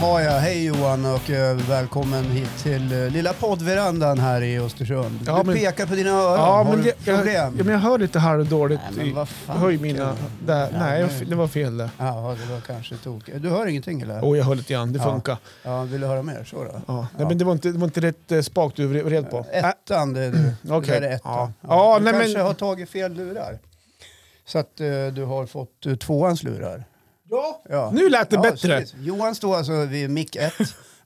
har jag. Hej Johan och eh, välkommen hit till eh, lilla poddverandan här i Östersund. Ja, du men- pekar på dina öron. Ja, har men du jag, jag, ja, problem? men jag hör lite halvdåligt. Nej, men i- vad fan, Höj mina... Johan. Där. Ja, Nej, jag, nu. det var fel där. Jaha, det var kanske tokigt. Du hör ingenting eller? Åh, jag hör lite grann. Det Ja. funkar. Ja, vill du höra mer? Så då. Ja. Nej, Ja. men det var, inte, det var inte rätt eh, spak du vred vred på. Äh, Ettan, det är du. Det Okej. där är ettan. Ja. Ja, Ja, du nej, kanske men- har tagit fel lurar. Så att eh, du har fått eh, tvåans lurar. ja. Ja. Nu lät det Ja, bättre. precis. Johan står alltså vid mick 1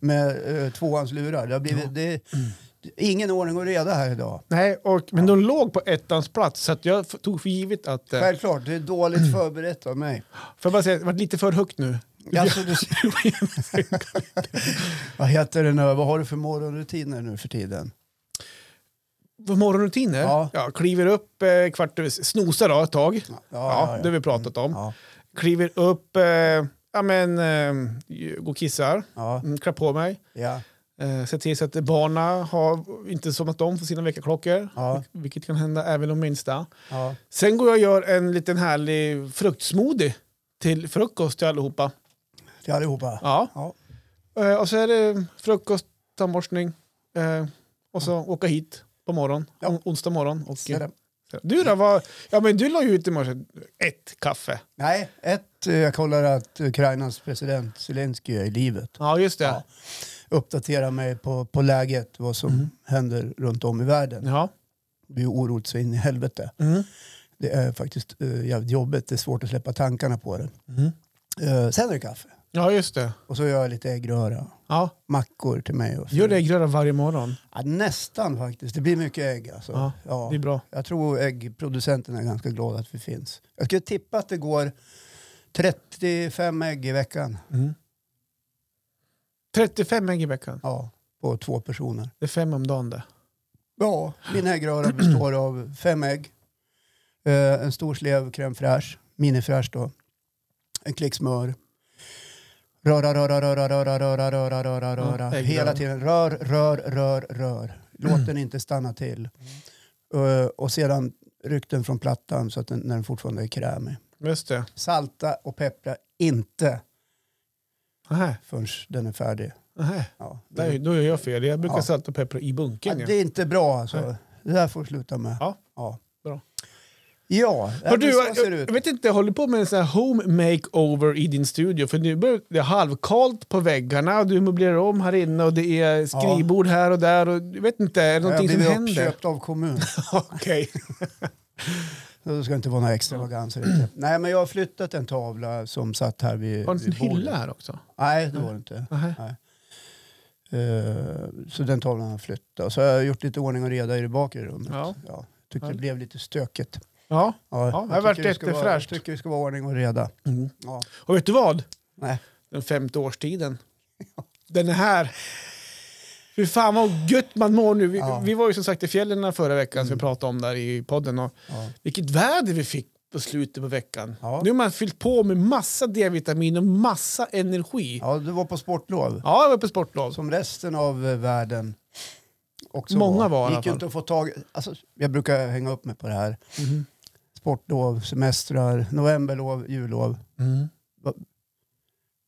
med eh, tvåans lurar. Det har blivit, det, det- ingen ordning och reda här idag. Nej, och, men de låg på ettans plats så att jag f- tog för givet att... eh, Självklart, det är dåligt förberett av mig. Får jag bara säga, det var lite för högt nu. Alltså, du, vad heter det nu? Vad har du för morgonrutiner nu för tiden? På morgonrutiner? Ja. Ja. kliver upp eh, kvart över... Snosar då ett tag. Ja, ja, ja. det har vi pratat om. Ja, Kliver upp, eh, ja men, eh, går och kissar. ja, Mm, klär på mig. ja. Eh, se till så att barna har inte somnat om för sina väckarklockor, Ja. vil- vilket kan hända även de minsta. ja. Sen går jag och gör en liten härlig fruktsmoothie till frukost till allihopa. Till allihopa. Ja. Ja. Eh, och så är det frukost, tandborstning eh, och så åka hit på morgon, Ja. on- onsdag morgon. Och, Så är det. du då? Vad, ja, men du la ju ut i morse ett kaffe. Nej, ett, eh, jag kollar att Ukrainas president Zelenskyj är i livet. Ja, just det. Ja. Ja. Uppdatera mig på, på läget, vad som händer runt om i världen. Mm. Ja. Det är ju oroligt så in i helvete. Mm. Det är faktiskt eh, jävligt jobbigt, det är svårt att släppa tankarna på det. Mm. Eh, sen är det kaffe. ja, just det. Och så gör jag lite äggröra. Ja. Mackor till mig. Och så. Gör det äggröra varje morgon. Ja, nästan faktiskt. Det blir mycket ägg. Alltså. Ja, Ja. Det är bra. Jag tror äggproducenterna är ganska glada att vi finns. Jag skulle tippa att det går 35 ägg i veckan. 35 ägg i veckan. Ja, på två personer. Det är fem om dagen det. Ja, min äggröra består av fem ägg, eh, en stor slev crème fraîche, minifräsch då, en klick smör, röra, röra, röra, röra, röra, röra, röra, röra, äggröra. hela tiden rör, rör, rör, rör. Låt den inte stanna till. Eh, och sedan ryck den från plattan så att den, när den fortfarande är krämig. Just det. Salta och peppra inte Aha, förrän den är färdig. aha. Ja, det, Nej, då gör jag fel. Jag brukar Ja. salta och peppra i ja, bunken. det Ja, är inte bra alltså. Nej. Det där får du sluta med. Ja. ja. Bra. Ja, Hör du, men så jag, ser det ut. jag vet inte, jag håller på med en sån här home makeover i din studio. För nu börjar det är halvkallt på väggarna och du möblerar om här inne och det är skrivbord här och där. Och, jag vet inte, är det någonting som jag blev händer? uppköpt av kommun. Okej. Så Det ska inte vara några extravaganser. ute. Nej, men jag har flyttat en tavla som satt här vid Har du en vid sån bordet. hylla här också? Nej, det var det inte. Aha. Eh, så den tavlan har jag flyttat. Så har jag gjort lite ordning och reda i det bakre rummet. Ja. Tyckte det Ja. blev lite stökigt. Ja. Ja, det har tycker varit det ska vara- jättefräscht. Jag tycker det ska vara ordning och reda. Ja. Och vet du vad? Nej. Den femte årstiden. Den är här. Fy fan vad gött man mår nu. Vi, Ja. Mm. vi var ju som sagt i fjällen förra veckan som vi pratade om där i podden. Och Ja. vilket väder vi fick på slutet på veckan. Ja. Nu har man fyllt på med massa D-vitamin och massa energi. Ja, ja, du var på sportlov. jag var på sportlov. Som resten av eh, världen också Många var i var. alla gick ju fall. inte att få tag alltså, Jag brukar hänga upp mig på det här. Mhm. Sportlov, semestrar, novemberlov, jullov.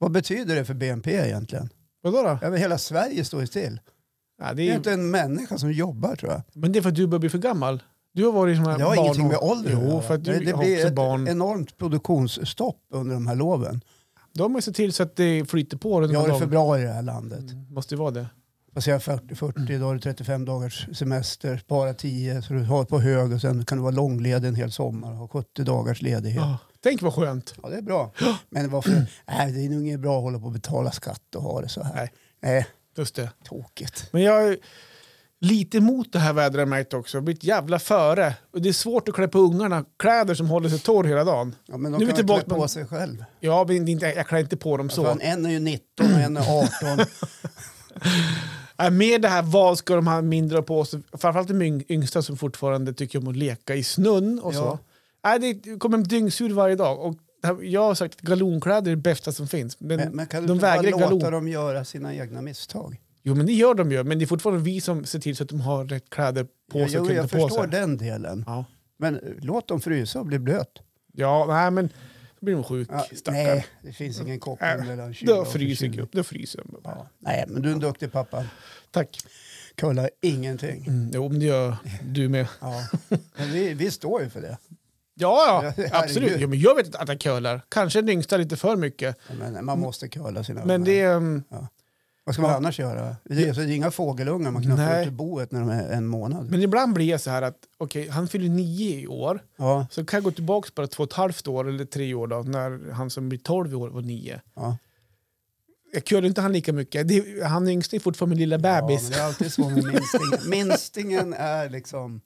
Vad betyder det för BNP egentligen? Vadå då? Ja, men hela Sverige står ju still. Ja, Det det är är, inte en människa som jobbar tror jag. men det är för att du börjar bli för gammal. Du har varit som här Det har barn- ingenting med ålder att Jo, göra. för att Men du Det har blir också ett barn. enormt produktionsstopp under de här loven. Då har man ju sett till så att det flyter på. den här Mm. Jag är dagen. för bra i det här landet. Måste ju vara det. Vad säger jag, 40, 40 då har du 35 dagars semester, spara 10 så du har på hög och sen kan du vara långledig en hel sommar och ha 70 dagars ledighet. Ja. Ah, Tänk vad skönt. Ja, det är bra. Men varför? Nej, det är nog inget bra att hålla på och betala skatt och ha det så här. Nej. Nej, Just det. tokigt. Men jag är lite emot det här vädret har jag märkt också. Jag har blivit jävla före. Och det är svårt att klä på ungarna kläder som håller sig torr hela dagen. Ja, men de Nu kan är vi väl klä tillbaka på med- sig själv. Ja, men det är inte, jag klär inte på dem så. Fan, en är ju 19 och en är 18. Äh, Med det här, vad ska de här mindre ha på sig? Framförallt de yng- yngsta som fortfarande tycker om att leka i snön och Ja. så. Äh, det kommer en dyngsur varje dag. Och det här- jag har sagt att galonkläder är det bästa som finns. Men, Men, men kan du de inte bara vägrar galon. låta dem göra sina egna misstag? Jo, men det gör de ju. Men det är fortfarande vi som ser till så att de har rätt kläder på sig. och jo, kläder jag på förstår sig. den delen. Ja. Men eh, låt dem frysa och bli blöt. Ja, nej men Då blir de sjuk, Ja, stackarn. nej, det finns ingen koppling Äh, mellan kyla Då och fryser förkylning. jag. Då fryser jag. bara. Ja, nej, men du är en duktig pappa. Tack. Kullar ingenting. Mm, jo, men det gör du med. Ja. Men vi, vi står ju för det. Ja, ja, Herregud. absolut. Ja, men jag vet att jag curlar. Kanske den yngsta lite för mycket. Men man måste curla sina Men ungar. det är... ehm, Vad ska man annars göra? Det är, så det är inga fågelungar man knappar Nej. ut ur boet när de är en månad. Men ibland blir jag så här att okej, han fyller nio i år. Ja, Så kan jag gå tillbaka bara två och ett halvt år eller tre år då, när han som blir tolv i år var nio. ja. Jag curlar inte han lika mycket. Det, han är yngst är fortfarande min lilla Ja, bebis. men det är alltid så med minstingen. Minstingen är liksom...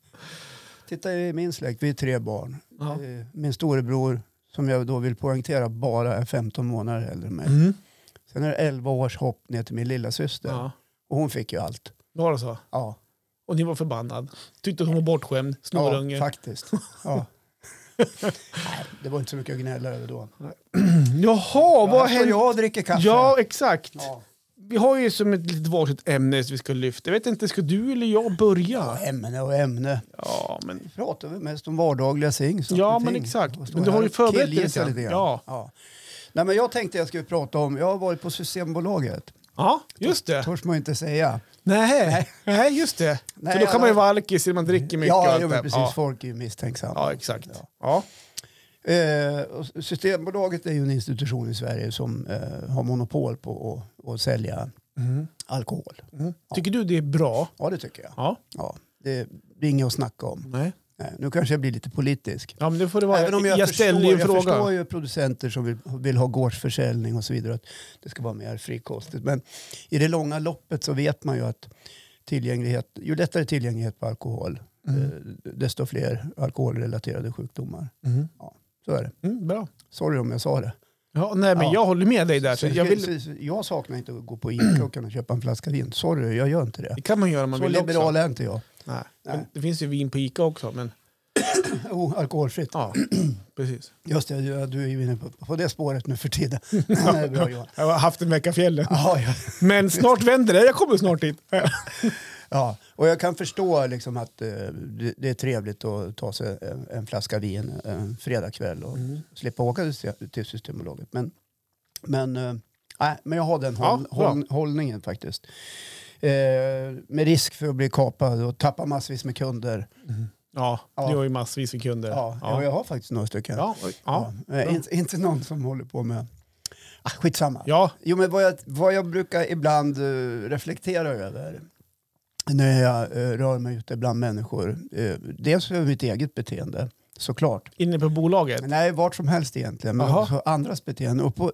Titta i min släkt, vi är tre barn. Ja. Eh, Min storebror, som jag då vill poängtera, bara är 15 månader äldre än mig. Mm. Sen är det 11 års hopp ner till min lilla syster. Ja. Och hon fick ju allt. Då var det så. Ja, Och ni var förbannad. Tyckte att hon var bortskämd. Snorunge. ja faktiskt. Ja. Nej, det var inte så mycket att gnälla över då. Jaha, Ja, vad här står hände? jag och dricker kaffe. Ja, exakt. Ja. Vi har ju som ett litet varsitt ämne som vi ska lyfta. Jag vet inte, ska du eller jag börja? Ämne och ämne. Ja, men... pratar vi mest om vardagliga ting. saker Ja, och men ting. exakt. Och står Men du har här ju och förberett dig killgissar lite grann. grann. Ja. Ja. Nej, men jag tänkte jag skulle prata om, jag har varit på Systembolaget, Ja, just det. törs man ju inte säga. Nej, nej just det. Nej, För då kan man ju alla- vara alkis när man dricker mycket. och ja, allt jo, det men här. precis, Ja. folk är ju misstänksamma. ja, exakt. Ja. Ja. Eh, och Systembolaget är ju en institution i Sverige som eh, har monopol på att, att sälja Mm. alkohol. Mm. Tycker du det är bra? Ja, det tycker jag. Ja. Ja, det, det är inget att snacka om. Nej. Nej, nu kanske jag blir lite politisk. Ja, men det får det vara. Även om jag, ställer förstår, ju en jag fråga. förstår ju producenter som vill, vill ha gårdsförsäljning och så vidare. Att det ska vara mer frikostigt. Men i det långa loppet så vet man ju att tillgänglighet, ju lättare tillgänglighet på alkohol, eh, desto fler alkoholrelaterade sjukdomar. Mm. Så är det. Mm, bra. Sorry om jag sa det. Ja, nej, men Ja. jag håller med dig där. Så Så jag vill, så- så- jag saknar inte att gå på Ica och kunna köpa en flaska vin. Sorry, jag gör inte det. det kan man göra om man Så vill liberal också. är inte jag. Nej. Nej. Men det finns ju vin på Ica också. Men, Oh, alkoholfritt. ja, precis. Just det, du du är ju inne på, på det spåret nu för tiden. Nej, bra, Johan. Jag har haft en vecka i fjällen. Ja, ja. Men snart vänder det. Jag kommer snart dit. Ja, och jag kan förstå liksom att eh, det, det är trevligt att ta sig en, en flaska vin eh, en fredagkväll Mm. och slippa åka till, sy- till Systembolaget. Men, men, eh, nej, men jag har den håll, Ja, bra. håll, hållningen faktiskt. Eh, med risk för att bli kapad och tappa massvis med kunder. Ja, Ja. du har ju massvis av kunder. Ja, ja. Jag har faktiskt några stycken. ja. oj, ja. Ja, eh, inte, inte någon som håller på med... Ah, skitsamma. ja. Jo, men vad jag, vad jag brukar ibland eh, reflektera över när jag eh, rör mig ute bland människor. Uh, dels över mitt eget beteende, såklart. Inne på bolaget. Nej, vart som helst egentligen, men Jaha. också andras beteende. Och på,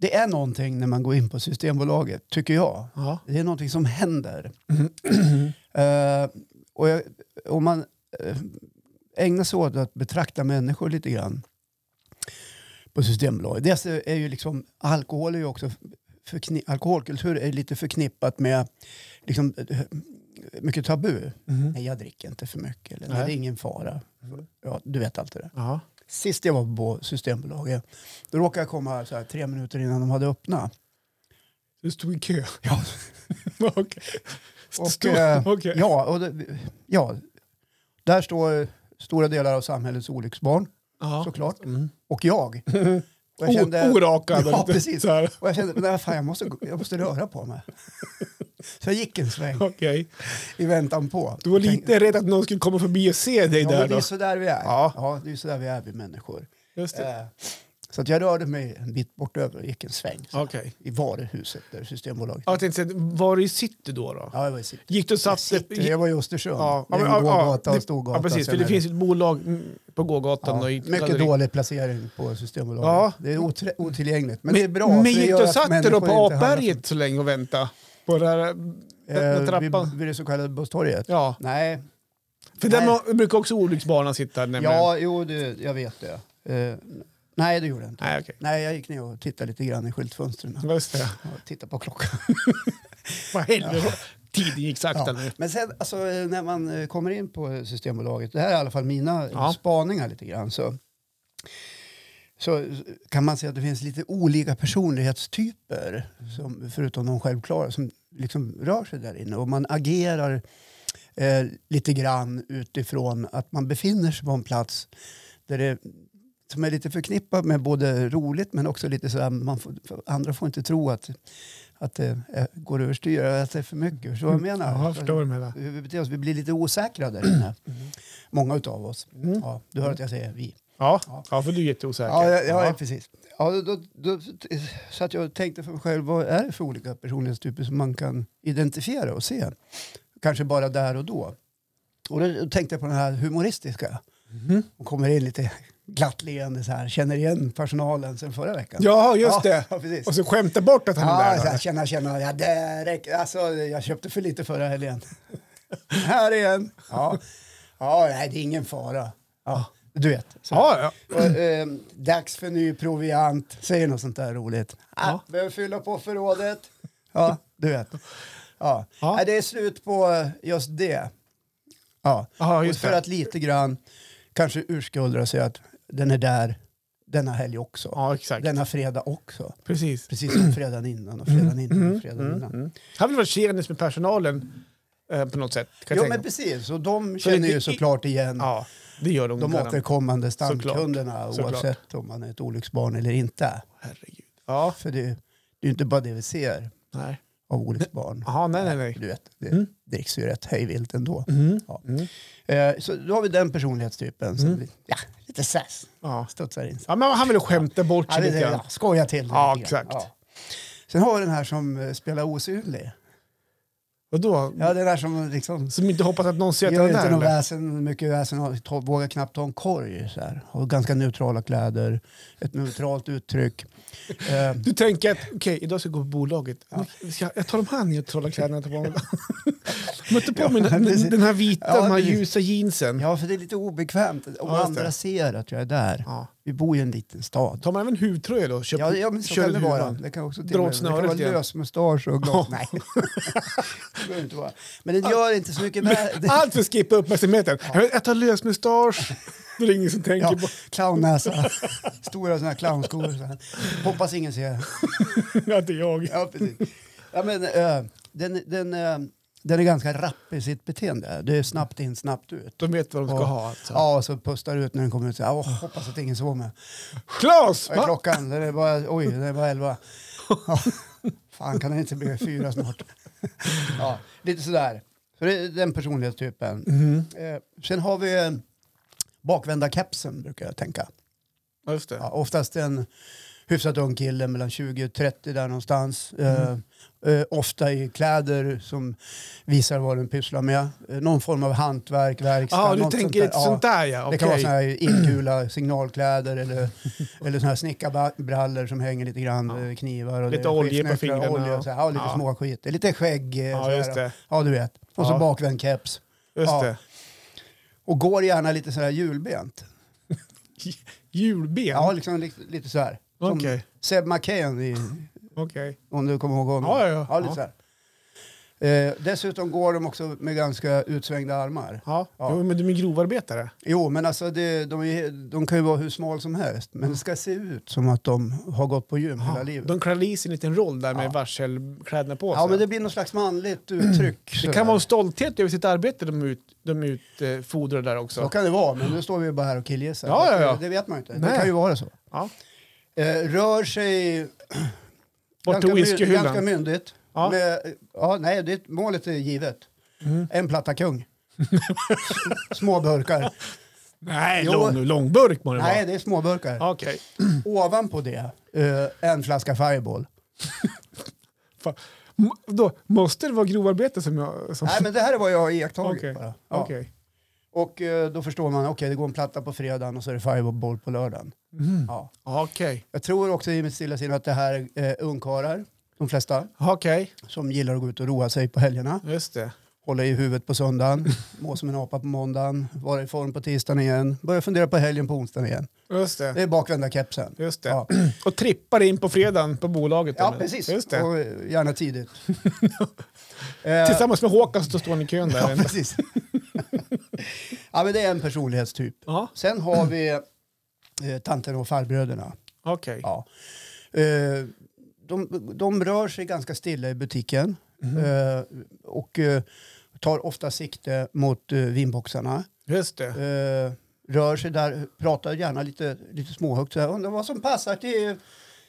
det är någonting när man går in på Systembolaget, tycker jag. Ja. Det är någonting som händer. Eh, och jag, om man eh, ägnar sig åt att betrakta människor lite grann på Systembolaget. Dels är ju liksom, alkohol är ju också förkni- alkoholkultur är lite förknippat med liksom, eh, mycket tabu. Nej, jag dricker inte för mycket. Eller, nej, Nej. det är ingen fara. Ja, du vet allt det där. Ja. Sist jag var på Systembolaget, då råkade jag komma så här, tre minuter innan de hade öppnat. Du stod i kö. Ja, Okej. Och, Stå- eh, okej. ja, och det, ja, där står stora delar av samhällets olycksbarn Ja. såklart. Mm. Och jag. Och jag O- kände, Orakad. Ja, lite precis. Så här. och jag kände men fan, jag, måste, gå- jag måste röra på mig. Så jag gick en sväng Okej. i väntan på. Du var lite rädd att någon skulle komma förbi och se dig ja, där men det är då. så där vi är. Ja. Ja. det är så där vi är vi människor. Just det. Eh, Så att jag rörde mig en bit bort över och gick en sväng så, Okej. i varuhuset där Systembolaget. Ja, Jag tänkte säga, var i city då? då? Ja, jag var i City. Gick du och Jag, satte... sitter, jag var i Östersund. Ja, Det är men, en ja, gågata ja, och stor gata. Ja, precis. För sen det är finns ju ett bolag mm, på gågatan. och i- mycket dålig placering på Systembolaget. Ja. Mm. Det är oträ- otillgängligt. Men, Men, det är bra. för det men gick gör du och att satt dig då människor på inte hamnar Apberget så länge och väntade? På det här, den, Eh, den trappan? Vid, vid det så kallade busstorget? Ja. Nej, För nej. där må- brukar också olycksbarnen sitta. nämligen. ja, jo, det, jag vet det. Eh, nej, det gjorde jag inte. Nej, okej. Nej, jag gick ner och tittade lite grann i skyltfönstren. Just det. Och tittade på klockan. Vad helvete. Tiden gick sakta nu. Men sen alltså, eh, när man eh, kommer in på Systembolaget, det här är i alla fall mina Ja. ja. spaningar lite grann, så, så kan man se att det finns lite olika personlighetstyper, som, förutom de självklara, som liksom rör sig där inne. Och man agerar eh, lite grann utifrån att man befinner sig på en plats där det som är lite förknippat med både roligt men också lite så här, man får, för andra får inte tro att, att det är, går överstyr, att det är för mycket. Förstår du vad jag menar? Ja, jag förstår med det. hur vi beter oss. Vi blir lite osäkra där inne. Många utav oss. Ja, du hör att jag säger vi. Mm. Ja, ja, för du är jätteosäker. Ja, ja, ja, precis. Ja, då, då, då satt jag och tänkte för mig själv, vad är det för olika personlighetstyper som man kan identifiera och se? Kanske bara där och då. Och då tänkte jag på den här humoristiska. Mhm. Hon kommer in lite glatt leende så här, känner igen personalen sen förra veckan. Ja, just det. Ja, precis. Och så skämta bort att han är Ja, där. så här, då. tjena, tjena, ja, det räcker. Alltså, jag köpte för lite förra helgen. här igen. Ja, ja nej, det är ingen fara. Ja, du vet. Så. Ja, ja. Och, ehm, dags för ny proviant, säger något sånt där roligt. Ah, Ja. Behöver fylla på förrådet. Ja, du vet. Ja. Ja. Nej, det är slut på just det. Ja, Ja, Och just för det. att lite grann kanske urskuldra sig att den är där denna helg också. ja, exakt. Denna fredag också. Precis. Precis som fredagen innan och Mm, fredagen innan och fredagen innan. Han vill vara tjenis med personalen eh, på något sätt. Kan jag Jo tänka men mig. precis, och de känner ju det- såklart igen Ja, det gör de. de gärna. återkommande stamkunderna Såklart. oavsett om man är ett olycksbarn eller inte. Herregud. Ja, För det, det är ju inte bara det vi ser nej. av olycksbarn. Jaha, nej, nej, nej. Du vet, det Mm. dricks ju rätt hejvilt ändå. Mm. Ja. Mm. Eh, så då har vi den personlighetstypen som Mm. blir, ja, lite sass, Ja. studsar in sig. ja, men han vill skämta bort Ja, sig det, lite det, grann. ja, skoja till det Ja, lite grann. exakt. Sen har vi den här som eh, spelar osynlig. Och då? Ja, den här som liksom Som inte hoppas att någon ser att gör han är inte där? något eller? väsen, mycket väsen, och ta- vågar knappt ta en korg. Så här. Har ganska neutrala kläder, ett neutralt uttryck. Eh, Du tänker att okej, idag ska jag gå på bolaget. Men Ska jag, jag tar de här neutrala kläderna till mig. Mötte på mig den, precis. den här vita, Ja, de här precis. ljusa jeansen. Ja. ja, för det är lite obekvämt om Ja, just det. andra ser att jag är där. Vi bor i en liten stad. Tar man även huvtröja då? Köp, Ja, ja men så kör kan det ut vara. huvan. Det kan också till Dra och åt med- det kan snöret vara igen. lös mustasch och glas. Nej. det behöver inte vara. Men det gör inte så mycket med... Det, Allt för att skippa uppmärksamheten. Ja. Jag tar lös mustasch. Det är ingen som tänker ja, på... clownnäsa, stora sådana här clownskor. Så här. Hoppas ingen ser. att det är jag. Ja, precis. Ja, men, eh, den, den, eh, den är ganska rapp i sitt beteende. Det är snabbt in, snabbt ut. De vet vad de ska Ja. ha. Alltså. Ja, och så pustar ut när den kommer ut. Så, här, Åh, hoppas att ingen såg mig. Klas! Vad är va? klockan? Den är bara, oj, den är bara elva. Ja. Fan, kan den inte bli fyra snart? Ja, lite sådär. Så det är den personlighetstypen. Eh, sen har vi eh, bakvända kepsen, brukar jag tänka. Ja, Just det. Ja, oftast en hyfsat ung kille, mellan 20 och 30 där någonstans. Mm. Eh, eh, ofta i kläder som visar vad den pysslar med. Eh, någon form av hantverk, verkstad. Ja, du något tänker lite Ja. sånt där ja. Det kan vara Okej. såna här ingula signalkläder eller, eller såna här snickarbrallor som hänger lite grann, Ja. eh, knivar och Lite det är olja på skiftnycklar och fingrarna. Olja och så här, ja, lite Ja. småskit. Det är Lite skägg. eh, så Ja, här. just det. Ja, du vet. Och så Ja. bakvänd keps. Just Ja. det. Och går gärna lite sådär julbent. J- Julben? Ja, Ja, liksom lite, lite sådär. Som Okej. Mm. Seb McCain, i, Okej. om du kommer ihåg honom. Ja, ja, ja. lite Ja. sådär. Eh, dessutom går de också med ganska utsvängda armar. Ja. Ja. Jo, men du är grovarbetare. Jo, men alltså det, de, är, de kan ju vara hur smal som helst. Men det ska se ut som att de har gått på gym hela Ja. livet. De klär i sig en liten roll där med varselkläderna på sig. Ja, men det det, blir något slags manligt uttryck. sådär. kan vara en stolthet över sitt arbete de, ut, de utfodrar där också. Så kan det vara, men nu står vi ju bara här och killgissar. Ja, ja, ja. Det, det vet man ju inte. Det Nej. kan ju vara så. Ja. Eh, rör sig Bort till ganska, my- whiskyhyllan. ganska myndigt. Ja. Mm. Med, ja, nej, det, målet är givet. En platta kung. små burkar. Nej, Jo. lång, långburk må det Nej, vara. det är små burkar. Okej. Ovanpå det, eh, en flaska Fireball. Fan. M- Då, måste det vara grovarbete som jag... Som... Nej, men det här är vad jag har iakttagit Okej. bara. Ja. Okej. Och eh, då förstår man, okej, det går en platta på fredagen och så är det Fireball på lördagen. Mm. Ja. Okej. Jag tror också i mitt stilla sinne att det här är ungkarlar, de flesta, Okej. som gillar att gå ut och roa sig på helgerna. Just det. Hålla i huvudet på söndagen, må som en apa på måndagen, vara i form på tisdagen igen, börja fundera på helgen på onsdagen igen. Just det. Det är bakvända kepsen. Just det. Ja, Och trippar in på fredagen på bolaget. ja eller? precis. Just det. Och eh, gärna tidigt. Eh, Tillsammans med Håkan så står ni i kön ja, där. precis. ja, men det är en personlighetstyp. Ja, Sen har vi eh, tanten och farbröderna. okej. Ja. Eh, de, de rör sig ganska stilla i butiken eh, och eh, tar ofta sikte mot eh, vinboxarna. Just det. Eh, rör sig där, pratar gärna lite, lite småhögt så här, undrar vad som passar till,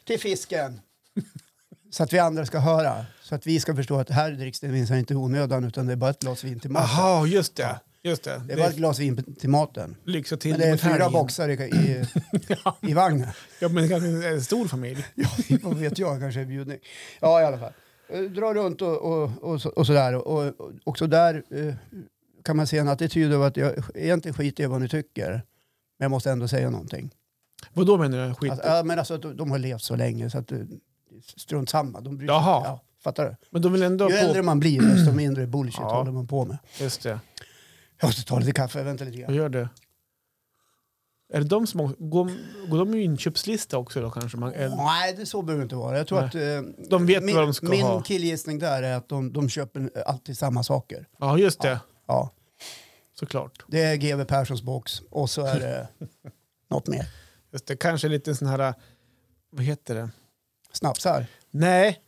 till fisken. Så att vi andra ska höra, så att vi ska förstå att här dricks det minsann inte i onödan utan det är bara ett glas vin till maten. Aha, just det. Just det. Det är bara ett glas vin till maten. lyxa till Men det är mot fyra helgen. boxar i, i, ja, i vagnen. ja, men kanske en stor familj. Ja, vad vet jag, kanske en bjudning. Ja, i alla fall. Eh, Dra runt och, och, och, så- och sådär. Och, och, och också där eh, kan man se en attityd av att jag egentligen skiter i vad ni tycker. Men jag måste ändå säga någonting. Vad då menar du? Skit. Alltså, ja, men alltså, att de, de har levt så länge så att eh, strunt samma. De bryr sig Jaha. inte. Ja, fattar du? men de vill ändå Ju ha äldre på... man blir desto mindre bullshit Ja. håller man på med. Just det. Jag måste ta lite kaffe, vänta lite Vad grann. gör det? Är det de som har- går, går de i inköpslista också då kanske? Man, eller- Nej, det så behöver det inte vara. Jag tror Nej. att, eh, De vet min, vad de ska min ha. killgissning där är att de, de köper alltid samma saker. Ja, just det. Ja. Såklart. Det är GW Perssons box och så är det något mer. Just det. Kanske lite sån här... eh, Vad heter det? Snapsar, Nej,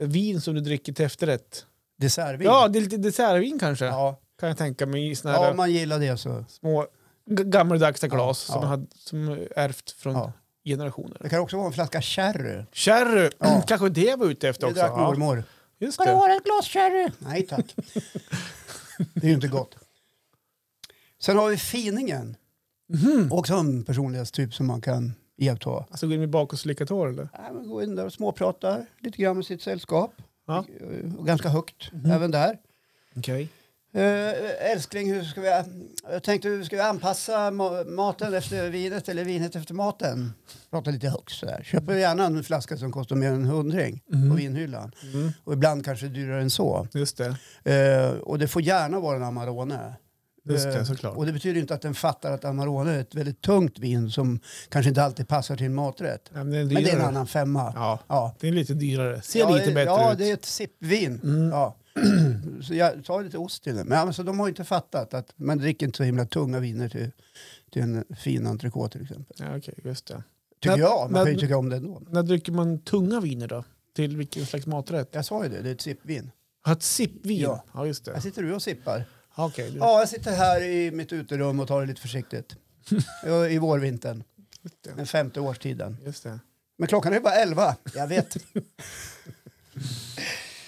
vin som du dricker till efterrätt. dessertvin. Ja, det är lite dessertvin kanske. ja. Kan jag tänka mig i såna här ja, om man gillar det så. små g- gammaldagsta glas Ja, som, ja. hade, som ärvt från Ja. generationer. Det kan också vara en flaska sherry. Sherry, kanske det var ute efter Det också. drack Ja, mormor. just Ska du det. ha ett glas sherry? Nej tack. det är ju inte gott. Sen har vi finingen. Mhm. Också en personlighetstyp som man kan iaktta. Alltså går in med bak och slickat hår eller? Ja, man går in där och småpratar lite grann med sitt sällskap. Ja. Mhm. Och ganska högt även där. Okej. Eh, älskling, hur ska vi, jag tänkte hur ska vi anpassa ma- maten efter vinet eller vinet efter maten? Prata lite högt sådär. Köper gärna en flaska som kostar mer än en hundring Mhm. på vinhyllan. Och ibland kanske dyrare än så. Just det. Eh, och det får gärna vara en Amarone. Just det, Eh, såklart. Och det betyder inte att den fattar att Amarone är ett väldigt tungt vin som kanske inte alltid passar till en maträtt. Ja, men det är, Men det är en dyrare. annan femma. Ja, Ja. det är lite dyrare. Ser Ja, lite det- bättre Ja, ut. Mm. det är ett sippvin. Ja. Så jag tar lite ost till det. Men alltså, de har ju inte fattat att man dricker inte så himla tunga viner till, till en fin entrecote till exempel. Ja, okej, just det. Tycker Men- jag, man men- kan ju tycka om det ändå. När dricker man tunga viner då? Till vilken slags maträtt? Jag sa ju det, det är ett sippvin. Ha ett sippvin? Ja. Ja. ja, just det. Här sitter du och sippar. Ja, Okej, du- Ja, jag sitter här i mitt uterum och tar det lite försiktigt. Ja, I vårvintern, just det. den femte årstiden. Just det. Men klockan är bara elva, jag vet.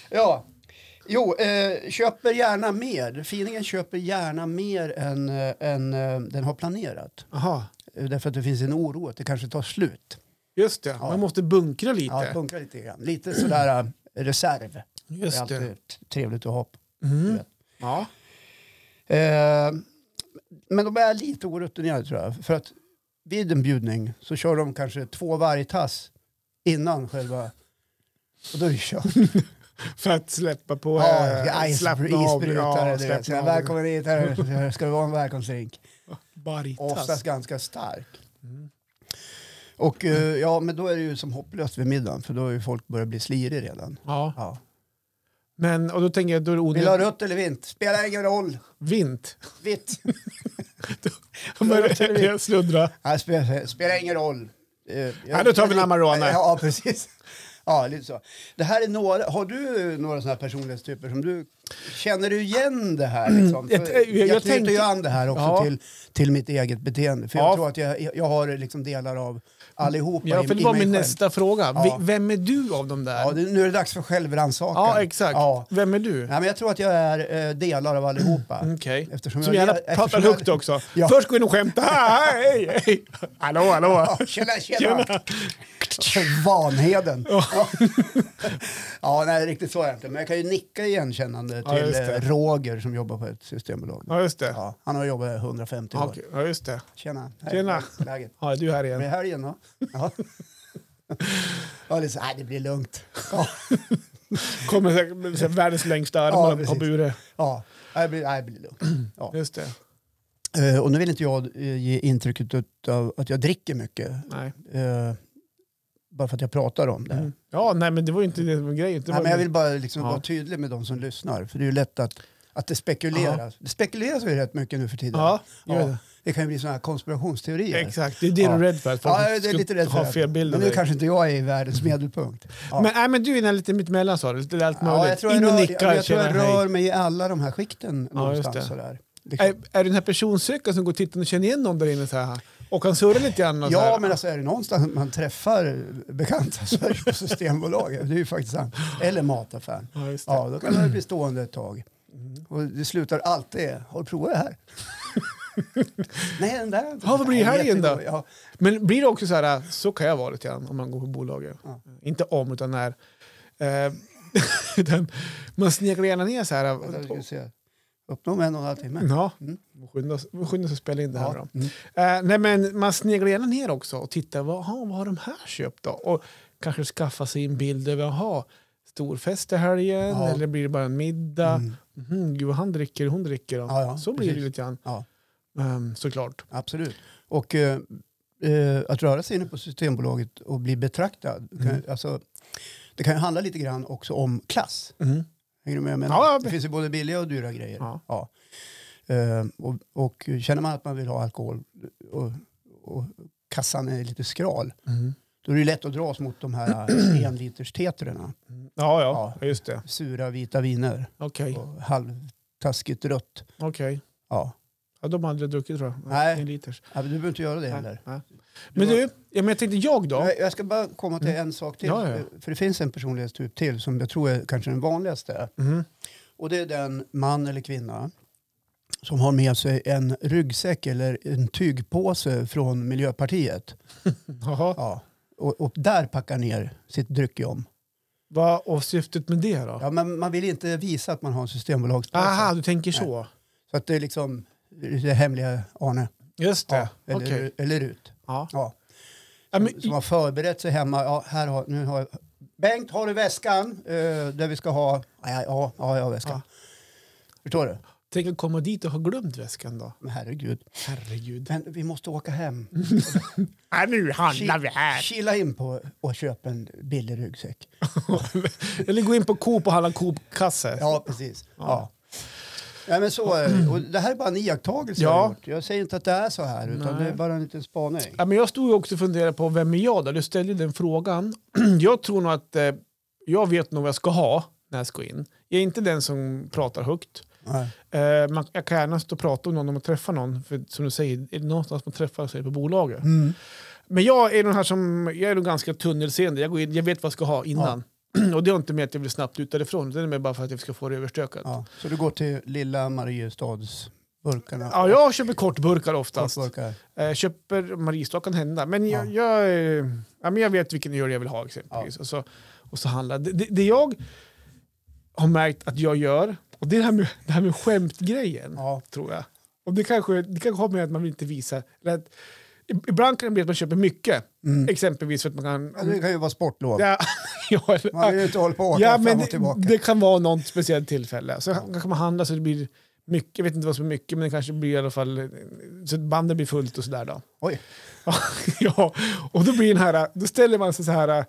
ja, jo, eh, köper gärna mer. Finingen köper gärna mer än, eh, än eh, den har planerat. Aha. Eh, Därför att det finns en oro att det kanske tar slut. Just det, man måste bunkra lite. Ja, punkar lite grann. Lite sådär eh, reserv. det är just alltid det. t- trevligt att ha. på, du Mm. vet. Ja. Eh, men de är lite orutinerade tror jag. För att vid en bjudning så kör de kanske två vargtass innan själva... Och då är det kört. För att släppa på... Ja, eh, is, slappna av. isbrytare. Ja, du vet. Så slappna jag, av. välkommen hit, här ska det vara en välkomstdrink. Oftast Baritas. ganska stark. Mm. Och eh, ja, men då är det ju som hopplöst vid middagen för då har ju folk börjat bli sliriga redan. Ja. Ja. Men, och då tänker jag, då är det Vill du ha onödigt. rött eller vint? Spelar ingen roll. Vint. Vitt. Då rötter börjar vi. jag sluddra. Nej, spelar, spelar ingen roll. Eh, jag- Ja, då tar vi en Amarone. Ja, precis. Ja, lite så. Det här är några, har du några sådana här personlighetstyper som du, känner du igen det här? Liksom? Mm, Jag- För jag- jag, jag knyter tänker- ju an det här också Ja. till, till mitt eget beteende. För Ja. jag tror att jag, jag har liksom delar av allihopa Ja, i, för det i var mig min själv. nästa fråga. Vi- Ja. Vem är du av de där? Ja, det, nu är det dags för självrannsakan. Ja, exakt. Ja. Vem är du? Nej, men jag tror att jag är eh, delar av allihopa. Okej. Eftersom Som jag- gärna eftersom pratar jag- högt också. Ja. Först går in och skämtar. Ah, hej, hej. Hallå, hallå. Ja, Tjena, tjena! Vanheden. Ja. ja, nej riktigt så är jag inte. Men jag kan ju nicka igenkännande Ja, till just det. eh, Roger som jobbar på ett systembolag. Ja, just det. Ja, han har jobbat 150 Ja, år. okej. Ja, just det. Tjena! Tjena. Hur är läget? Ja, är du här Blir igen? det helgen då? Ja. Ja, det är så, nej, det blir lugnt. Ja, Kommer säkert med så här världens längsta Ja, armar på precis. bure. ja. Nej, det, blir, nej, det blir lugnt. Ja. Just det. Eh, Och nu vill inte jag eh, ge intrycket av att jag dricker mycket. Nej. eh, Bara för att jag pratar om det. Mm. Ja, nej, men det var ju inte det som var grejen. Det Nej, var men jag vill bara liksom Ja. vara tydlig med de som lyssnar. För det är ju lätt att, att det spekuleras. Det spekuleras ju rätt mycket nu för tiden. Ja, Ja. gör det. Det kan ju bli sådana här konspirationsteorier. exakt. Det är det Ja. du är rädd för. Att folk Ja, det är ska lite rädd för ha det. fel bild Men av nu dig. kanske inte jag är i världens medelpunkt. Ja. Men, nej, men du är inne lite mittemellan sa du. Lite allt möjligt. Ja, jag tror jag, In och rör, nickar. jag, jag, tror jag känner, hej. rör mig i alla de här skikten Ja, just någonstans. det. Sådär. Liksom. Det är klart. Är, är det den här personsökaren som går och tittar och känner igen någon där inne så här? Och kan surra lite grann? Och så Ja, här? men alltså är det någonstans man träffar bekanta så är det på Systembolaget. Det är ju faktiskt sant. Eller mataffären. Ja, Mm. just det. Ja, då kan man ju bli stående ett tag. Och det slutar alltid, har du provat det här? Nej, den där har jag inte Ja, vad blir Nej, helgen då? jättegod. Ja, Men blir det också så här, äh, så kan jag vara lite grann om man går på bolaget. Inte om, utan när. Eh, utan man sneglar gärna ner så här. äh, vänta, jag ska se. Upp dem en och en halv timme. Ja, vi skyndar oss- vi skyndar oss att spela in Mm, det här. Mm. Ja. mm, Då. Eh, nej, men man sneglar gärna ner också och tittar, vad, aha, vad har de här köpt då? Och kanske skaffa sig en bild över, jaha, storfest i helgen Ja. eller blir det bara en middag? Mm. Mhm, gud vad han dricker, hon dricker. Då. Ja, ja, så blir det precis. lite grann, Ja, ehm, såklart. absolut. Och eh, eh, att röra sig inne på Systembolaget och bli betraktad. Kan, Mm. alltså, det kan ju handla lite grann också om klass. Mhm. Hänger du med? Men Ja, ja. det finns ju både billiga och dyra grejer. Ja. Eh, och, och känner man att man vill ha alkohol och, och kassan är lite skral, Mhm. då är det ju lätt att dras mot de här enliterstetrarna. mhm. Ja, ja, just det. Sura vita viner Okej, och halvtaskigt rött. okej. Ja. Ja, de har aldrig druckit tror jag. Nej. En liters. Ja, men du behöver inte göra det heller. Nej. Men du, ja, men jag tänkte jag då. Jag- Jag ska bara komma till en sak till. Ja, ja, ja. För det finns en personlighetstyp till som jag tror är kanske den vanligaste. Mhm. Och det är den man eller kvinna som har med sig en ryggsäck eller en tygpåse från Miljöpartiet. Jaha. Ja. Och, och där packar ner sitt dryckjom. Vad och syftet med det då? Ja, alltså. men man vill inte visa att man har en systembolagspåse. Aha, du tänker så. Så att det är liksom det hemliga Arne. Just det. eller, Okej. eller Rut. Ja. Ja. Ja, men, Som har förberett sig hemma. Ja, här har, nu har jag, Bengt, har du väskan eh, där vi ska ha? Ja, ja, ja jag har väskan. Förstår du? tänk att komma dit och ha glömt väskan då. Men herregud. Herregud. Men vi måste åka hem. Ja, Äh, nu handlar Mm, vi Ki- här. Kila in på och köpa en billig ryggsäck. eller gå in på Coop och handla Coop-kasse. Ja, precis. Ja. Nej, men så, är det. och det här är bara en iakttagelse jag Ja. har gjort. Jag säger inte att det är så här, utan Nej. det är bara en liten spaning. Ja, men jag stod ju också och funderade på vem är jag då? Du ställde ju den frågan. Jag tror nog att eh, jag vet nog vad jag ska ha när jag ska in. Jag är inte den som pratar högt. Nej. Eh, man, jag kan gärna stå och prata om någon om man träffar någon. För som du säger, är det någonstans man träffar sig på bolaget. Mm. Men jag är den här som, jag är nog ganska tunnelseende. Jag, går in, jag vet vad jag ska ha innan. Och det har inte med att jag vill snabbt ut därifrån. Det är mer bara för att jag ska få det överstökat. Ja, Ja. Så du går till lilla Mariestadsburkarna? jag köper kortburkar oftast. Kortburkar. Eh, köper Mariestad kan hända. Men jag, jag, eh, ja, men jag vet vilken öl jag vill ha exempelvis. Och, så, och så handlar det, det, det jag har märkt att jag gör, och det är det här med, det här med skämtgrejen. Ja. tror jag. Och det kanske, det kanske har med att man vill inte visa... Eller att, i- ibland kan det bli att man köper mycket, exempelvis för att man Mm. Ja, kan... Det kan ju vara sportlov. Ja, ja, eller- Man vill ju inte hålla på och åka ja fram men och tillbaka. det, det kan vara något speciellt tillfälle. Så kan man handla så det blir mycket, jag vet inte vad som är mycket, men det kanske blir i alla fall... Så att bandet blir fullt och sådär då. Oj. ja, och då blir den här, då ställer man sig så här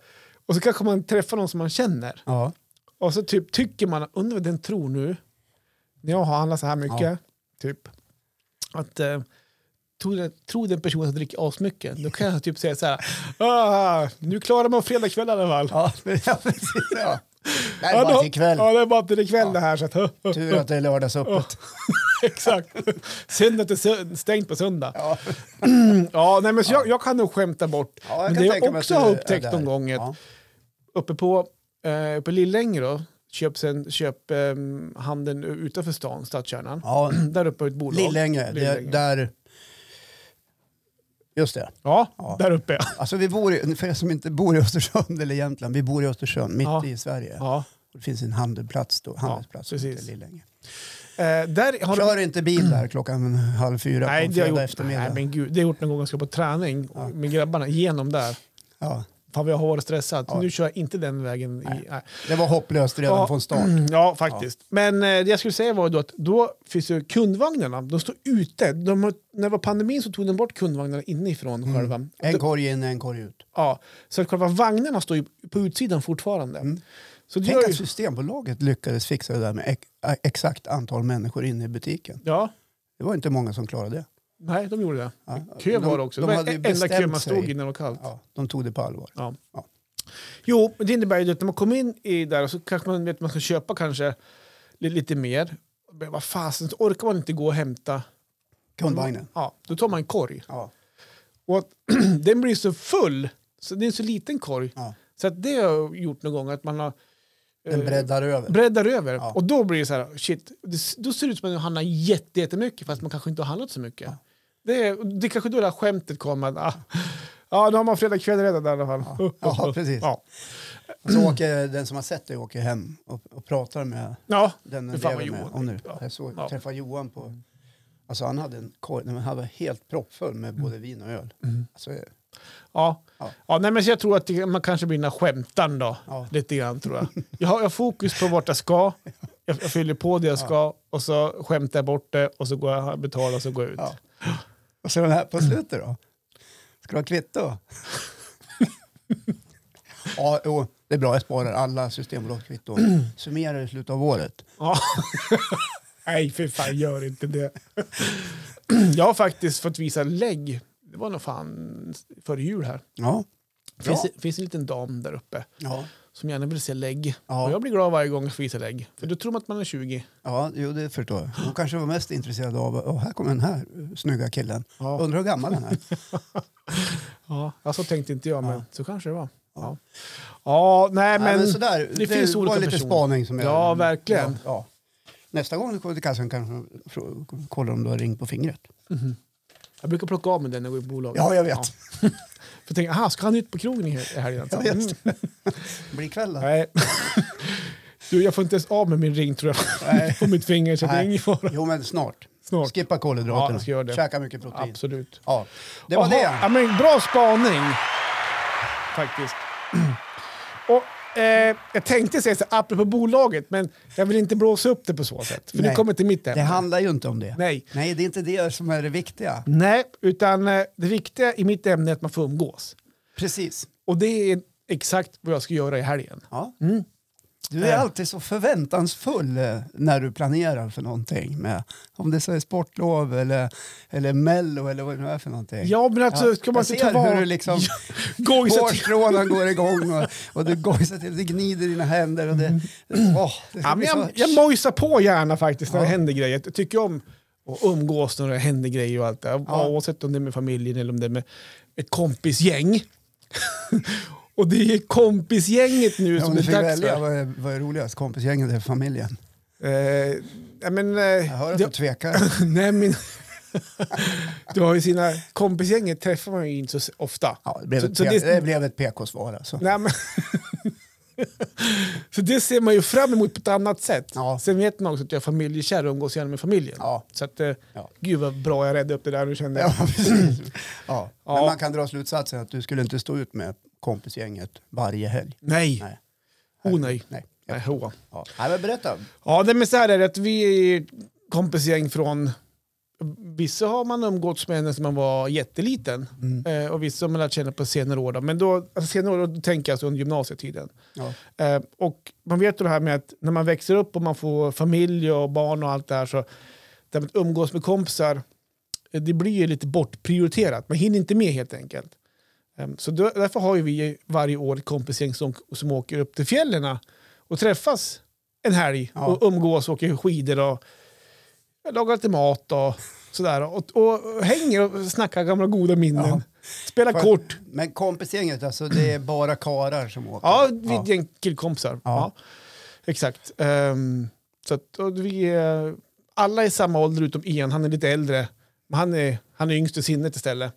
och så kanske man träffar någon som man känner. Ja. Och så typ tycker man, undrar vad den tror nu, när jag har handlat så här mycket, Ja. typ, att eh, tror, den, tror den personen att jag dricker asmycket, då kan jag typ säga så här, ah, nu klarar man fredagskväll i alla fall. Ja, ja, precis. Ja. Nej, Ja, bara då- till ikväll. Ja, det är bara till ikväll det här. Så att, Tur att det är lördagsöppet. Exakt. Synd att det är sö- stängt på söndag. Ja. Ja, nej, men så jag, jag kan nog skämta bort. Ja, men kan det tänka jag mig också att du har är upptäckt där. någon gång är att Ja. uppe på, eh, uppe i Lillänge då, köp, sen, köp eh, handeln utanför stan, stadskärnan. Ja. Där uppe är ett bolag. Lillänge, det, Lillänge. där... Just det. Ja, Ja. där uppe. Alltså vi bor i, för er som inte bor i Östersund eller Jämtland, vi bor i Östersund, mitt Ja. i Sverige. Ja. Det finns en handelsplats då, handelsplats som precis. heter Lillänge. Eh, där har Kör inte bil där klockan halv fyra nej, på en det fredag har jag gjort, eftermiddag. nej, men gud, det har jag gjort någon gång jag ska på träning med grabbarna, genom där. ja, Fan vad jag har varit stressad. Ja. Nu kör jag inte den vägen. I, nej. det var hopplöst redan Ja. från start. Mm, Ja, faktiskt. Men eh, det jag skulle säga var då att då finns ju kundvagnarna, de står ute. De har, när det var pandemin så tog de bort kundvagnarna inifrån själva. Mm. En korg in, en korg ut. Ja, så att själva vagnarna står ju på utsidan fortfarande. Så det Mm. Tänk gör att ju, Systembolaget lyckades fixa det där med ex- exakt antal människor inne i butiken. ja, Det var inte många som klarade det. nej, de gjorde det. Ja, Kö var det också. De, det de var hade ju en- enda kö man bestämt stod i sig. när det var kallt. Ja, de tog det på allvar. Ja. Ja. Jo, men det innebär ju att när man kommer in i där så kanske man vet att man ska köpa kanske li- lite mer. men vad fasen, så orkar man inte gå och hämta. Kundvagnen. Ja, då tar man en korg. Ja. Och att, den blir så full, så det är en så liten korg. Ja. Så att det har jag gjort någon gång, att man har Den eh, breddar över. breddar över. Ja. Och då blir det så här, shit, det, då ser det ut som att man handlar jätte- jättemycket fast man kanske inte har handlat så mycket. Ja. Det, är- det är kanske då det här skämtet kommer. att, Ah, ja, då har man fredag kväll redan i alla fall. Ja, precis. Ja, Så åker den som har sett dig åker hem och, och pratar med ja. den Det du fan lever var med. Johan. Och nu. Ja. Jag såg, Ja. träffade Johan på... Alltså han hade en korg, nej, men han var helt proppfull med Mm. både vin och öl. Alltså, ja. Ja. ja nej, men så jag tror att det, man kanske blir den här skämtan då. Ja. Lite grann tror jag. Jag har jag har fokus på vart jag ska. Jag, jag fyller på det jag ska och så skämtar jag bort det och så går jag betalar och så går jag ut. ja. Och så den här på slutet då. Ska du ha kvitto? ja, jo, det är bra. Jag sparar alla Systembolagskvitton. Summerar i slutet av året. Ja. Nej, för fan, gör inte det. Jag har faktiskt fått visa lägg. Det var nog fan före jul här. Ja. Det finns, Ja. finns en liten dam där uppe Ja, som gärna vill se lägg. Ja. Och jag blir glad varje gång jag får visa lägg. För då tror man att man är 20. ja jo, det förstår jag. Hon kanske var mest intresserad av, åh här kommer den här eh, snygga killen. Ja. Undrar hur gammal han är. Ja, ja, så tänkte inte jag, men Ja. så kanske det var. Ja, Ja. ja nej men... Nej, men sådär, det finns var olika lite personer. spaning som jag... Ja, verkligen. Ja, ja. Nästa gång du kommer till kassan kanske du frå- kollar om du har ring på fingret. Jag brukar plocka av mig den när jag går i bolaget. Ja, jag vet. För jag tänker, aha, ska han ut på krogen i hel- i helgen? alltså?" Mm, Ja, just det. Det blir kväll då. Nej. Du, jag får inte ens av med min ring tror jag. Nej. På mitt finger, så det är Nej. ingen fara. Jo, men snart. Snart. Skippa Ja, kolhydraterna. jag ska göra det. Käka mycket protein. Absolut. Ja. Det var Jaha, det. Ja, men bra spaning, faktiskt. Och, eh, jag tänkte säga så här, apropå bolaget, men jag vill inte blåsa upp det på så sätt. För det Nej. kommer till mitt Det ämne. handlar ju inte om det. Nej. Nej, det är inte det som är det viktiga. Nej, utan eh, det viktiga i mitt ämne är att man får umgås. Precis. Och det är exakt vad jag ska göra i helgen. Ja. Du är Mm. Eh. alltid så förväntansfull eh, när du planerar för någonting. Med, om det så är sportlov eller, eller mello eller vad det nu är för någonting. Ja, men alltså, ska man jag inte ta ser vara... hur du liksom Gojsa till- hårstråna går igång och, och du gojsar till, du gnider dina händer och det... Åh, det ska Mm. Ja, bli men jag, så... jag mojsar på gärna faktiskt när det Ja. händer grejer. Jag tycker om att umgås när det händer grejer och allt det där. Ja. Oavsett om det är med familjen eller om det är med ett kompisgäng. och det är kompisgänget nu Ja, om som du det fick är dags välja, för. vad är, vad är roligast? Kompisgänget eller familjen? Eh, ja, men, eh, Jag hör att du det, tvekar. nej, men, du har ju sina kompisgänget träffar man ju inte så s- ofta. Ja, det, blev Så- ett, så P- det- det blev ett PK-svar alltså. Nej, men så det ser man ju fram emot på ett annat sätt. Ja. Sen vet man också att jag är familjekär och umgås gärna med familjen. Ja. Så att, eh, Ja. gud vad bra jag räddade upp det där nu kände jag. Ja, precis. Ja. Men Ja. man kan dra slutsatsen att du skulle inte stå ut med kompisgänget varje helg. Nej. Nej. Oh nej. Nej. Nej, hoa. Ja. Nej, men berätta. Ja, det men så här är det att vi är kompisgäng från Vissa har man umgåtts med när man var jätteliten Mm. eh, och vissa har man lärt känna på senare år. Då. Men då, alltså senare år, då tänker jag alltså under gymnasietiden. Ja. Eh, och man vet ju det här med att när man växer upp och man får familj och barn och allt det här så det här med att umgås med kompisar eh, det blir ju lite bortprioriterat. Man hinner inte med helt enkelt. Eh, så då, därför har ju vi varje år ett kompisgäng som, som åker upp till fjällen och träffas en helg Ja. och umgås och åker skidor och lagar lite mat och sådär. Och, och hänger och snackar gamla goda minnen. Ja. Spelar Fan. kort. Men kompisgänget, alltså det är bara karar som åker? Ja, vi är ett gäng killkompisar. Ja. Ja. Exakt. Ehm, så att, och vi är, alla är i samma ålder utom en, han är lite äldre. Men han är, han är yngst i sinnet istället.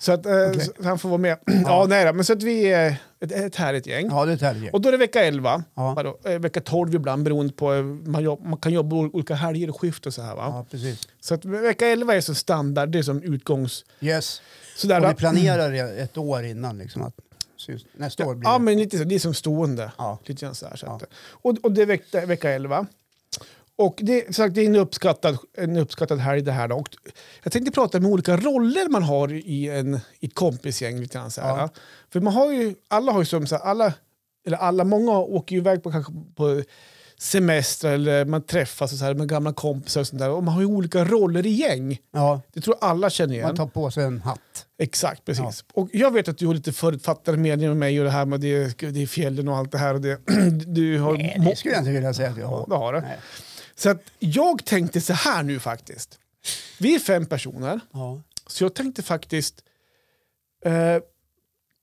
Så att eh, så han får vara med. ja, nej då, men så att vi är ett, ett härligt gäng. Ja, det är ett helg. Och då är det vecka 11, Ja. vadå, eh, vecka 12 ibland beroende på, eh, man, jobb, man kan jobba ol- olika helger och skift och så här. Va? Ja, precis. Så att vecka 11 är som standard, det är som utgångs... Yes. Sådär, Och va? ni planerar re- ett år innan liksom att syns- nästa år blir Ja, det. men lite så. Det är som stående. Ja. Lite grann så här, så Ja. att, och, och det är vecka, vecka 11. Och det, som sagt, det är en uppskattad, en uppskattad helg det här. Då. Och jag tänkte prata om olika roller man har i, en, i ett kompisgäng. Lite grann, så här. Ja. För man har ju, alla har ju som så här, alla, eller alla, många åker ju iväg på, kanske på semester eller man träffas och så här med gamla kompisar och sånt där. Och man har ju olika roller i gäng. ja, Det tror jag alla känner igen. man tar på sig en hatt. Exakt, precis. Och jag vet att du har lite förutfattade meningar om mig och det här med det, det är fjällen och allt det här. Och det, du har, Nej, det skulle jag inte vilja säga att jag Ja, har. det har du. Nej. Så att jag tänkte så här nu faktiskt. Vi är fem personer, Ja. så jag tänkte faktiskt, eh,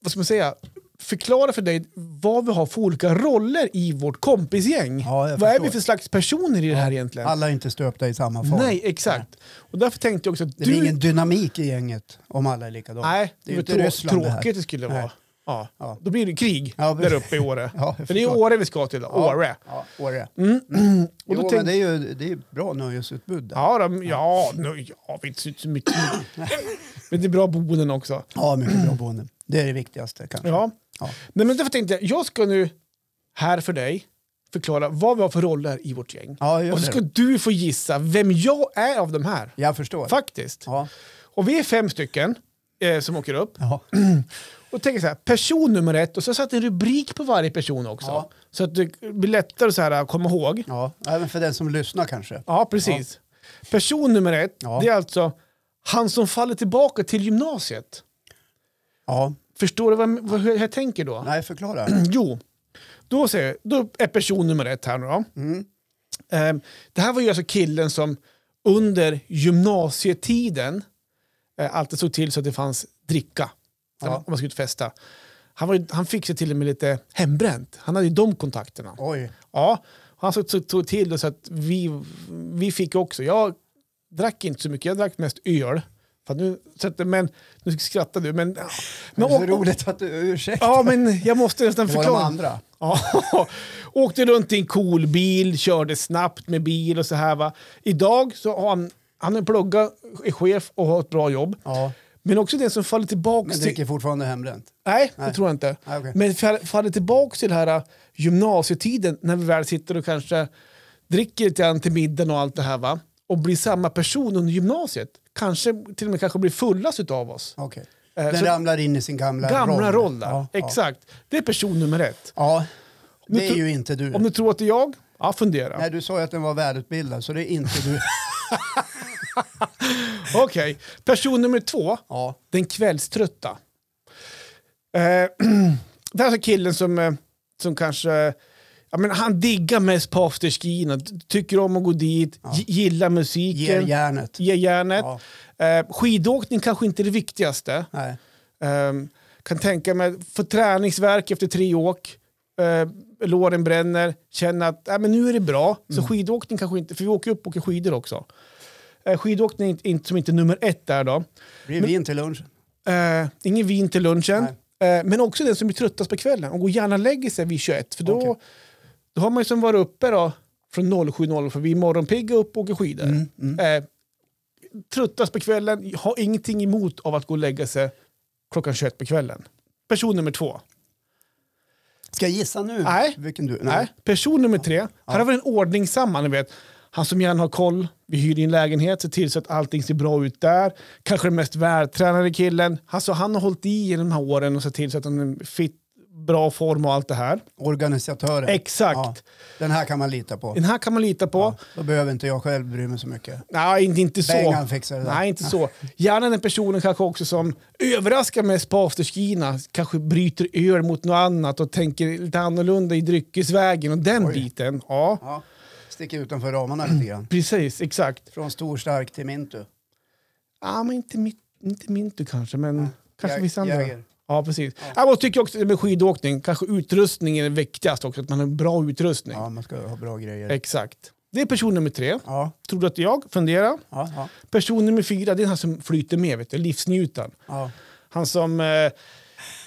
vad ska man säga, förklara för dig vad vi har för olika roller i vårt kompisgäng. Ja, jag vad är förstår. vi för slags personer i det här egentligen? Alla är inte stöpta i samma form. Nej, exakt. Och därför tänkte jag också att Det du... blir ingen dynamik i gänget om alla är likadana. Nej, det är det inte var Ryssland det här. tråkigt det skulle Nej. vara. Ja. Ja. Då blir det krig Ja, där uppe i Åre. Ja, jag För det är förstår. Åre vi ska till, Ja. Åre. Mm, Ja, Åre. Mm. Och Jo, då men tänk- det är ju det är bra nöjesutbud där. Ja, de, ja, nu, ja, vi är inte så mycket. Men det är bra boenden också. Ja, mycket bra boende. Det är det viktigaste kanske. Ja. Ja. Nej, men därför tänkte jag, jag ska nu här för dig förklara vad vi har för roller i vårt gäng. Ja, Och gör så ska det. du få gissa vem jag är av de här. Jag förstår. Faktiskt. Ja. Och vi är fem stycken eh, som åker upp. Ja. Och tänk så här, person nummer ett, och så satt en rubrik på varje person också. Ja. Så att det blir lättare så här, att komma ihåg. ja, även för den som lyssnar kanske. Ja, precis. Person nummer ett, Ja. det är alltså han som faller tillbaka till gymnasiet. Ja, Förstår du vad, vad, hur jag tänker då? nej förklara. Jo, då, säger, jag- då är person nummer ett här nu då. Ehm, det här var ju alltså killen som under gymnasietiden eh, alltid såg till så att det fanns dricka när man- Ja. om man skulle ut och festa. Han, var, ju- han fick sig till och med lite hembränt. Han hade ju de kontakterna. Oj, Ja, han såg, såg, såg till då så att vi, vi fick också. Jag drack inte så mycket, jag drack mest öl. För att nu, så att, men, nu skrattar du, men... det men är så och, roligt att du ursäktar. ja, men jag måste nästan Det var de förklara. andra. Ja, åkte runt i en cool bil, körde snabbt med bil och så här. Va? Idag så har han, han är pluggat, är chef och har ett bra jobb. Ja, Men också den som faller tillbaka men till... dricker fortfarande hembränt. Nej, det Nej. tror jag inte. Nej, okej. Men fall- faller tillbaka till den här äh, gymnasietiden när vi väl sitter och kanske dricker lite grann till middagen och allt det här. Va? Och blir samma person under gymnasiet. Kanske till och med kanske blir fullast utav oss. Okej. Eh, Den så- ramlar in i sin gamla, Gamla Äh, roll. roll där. Ja, ja. Exakt. Det är person nummer ett. Ja, Nu det är tro- ju inte du. Om du tror att det är jag, ja fundera. Nej, du sa ju att den var välutbildad, så det är inte du. Okej, person nummer två, Ja, den kvällströtta. Eh, det här är så killen som, eh, som kanske, ja, men han diggar mest på afterskierna, ty- tycker om att gå dit, gi- gillar ger musiken, järnet. ger järnet. Ja, Eh, skidåkning kanske inte är det viktigaste. nej. Eh, kan tänka mig, få träningsvärk efter tre åk, eh, låren bränner, känna att äh, men nu är det bra. Så Mm. skidåkning kanske inte, för vi åker upp och åker skidor också. Eh, skidåkning är inte- inte- som inte är nummer ett där då. Blir vin till lunch? Eh, ingen vin till lunchen. Eh, men också den som blir tröttast på kvällen och går gärna och lägger sig vid 21. För då, Okej. då har man ju som varit uppe då, från 07.00 för vi är morgonpigga upp och åker skidor. Mm, Eh, tröttast på kvällen, har ingenting emot av att gå och lägga sig klockan 21 på kvällen. Person nummer två. Ska jag gissa nu? Nej. Vilken du? Nej. Person nummer tre. Här har vi en ordning samman, ni vet. Han som gärna har koll, vi hyr in lägenhet, ser till så att allting ser bra ut där. Kanske den mest vältränade killen. Alltså, han har hållit i genom de här åren och sett till så att han är fit, bra form och allt det här. Organisatören. Exakt. Mm. Ja, den här kan man lita på. Den här kan man lita på. Då behöver inte jag själv bry mig så mycket. Nej, inte, inte så. Bengan fixar det där. Nej, inte så. Gärna den personen kanske också som överraskar mest på afterskierna. Kanske bryter öl mot något annat och tänker lite annorlunda i dryckesvägen och den biten. Ja, Ja. Sticker utanför ramarna lite grann. precis. Exakt. Från stor stark till mintu. Ja, men inte, mitt, inte Mintu kanske, men kanske Jag- vissa andra. Jäger. Ja, precis. Ja. jag tycker också det med skidåkning, kanske utrustningen är viktigast också, att man har bra utrustning. Ja, man ska ha bra grejer. Exakt. Det är person nummer tre. Ja, Tror du att det är jag? Fundera. ja, ja. Person nummer fyra, det är han som flyter med, vet du, livsnjutaren. ja, Han som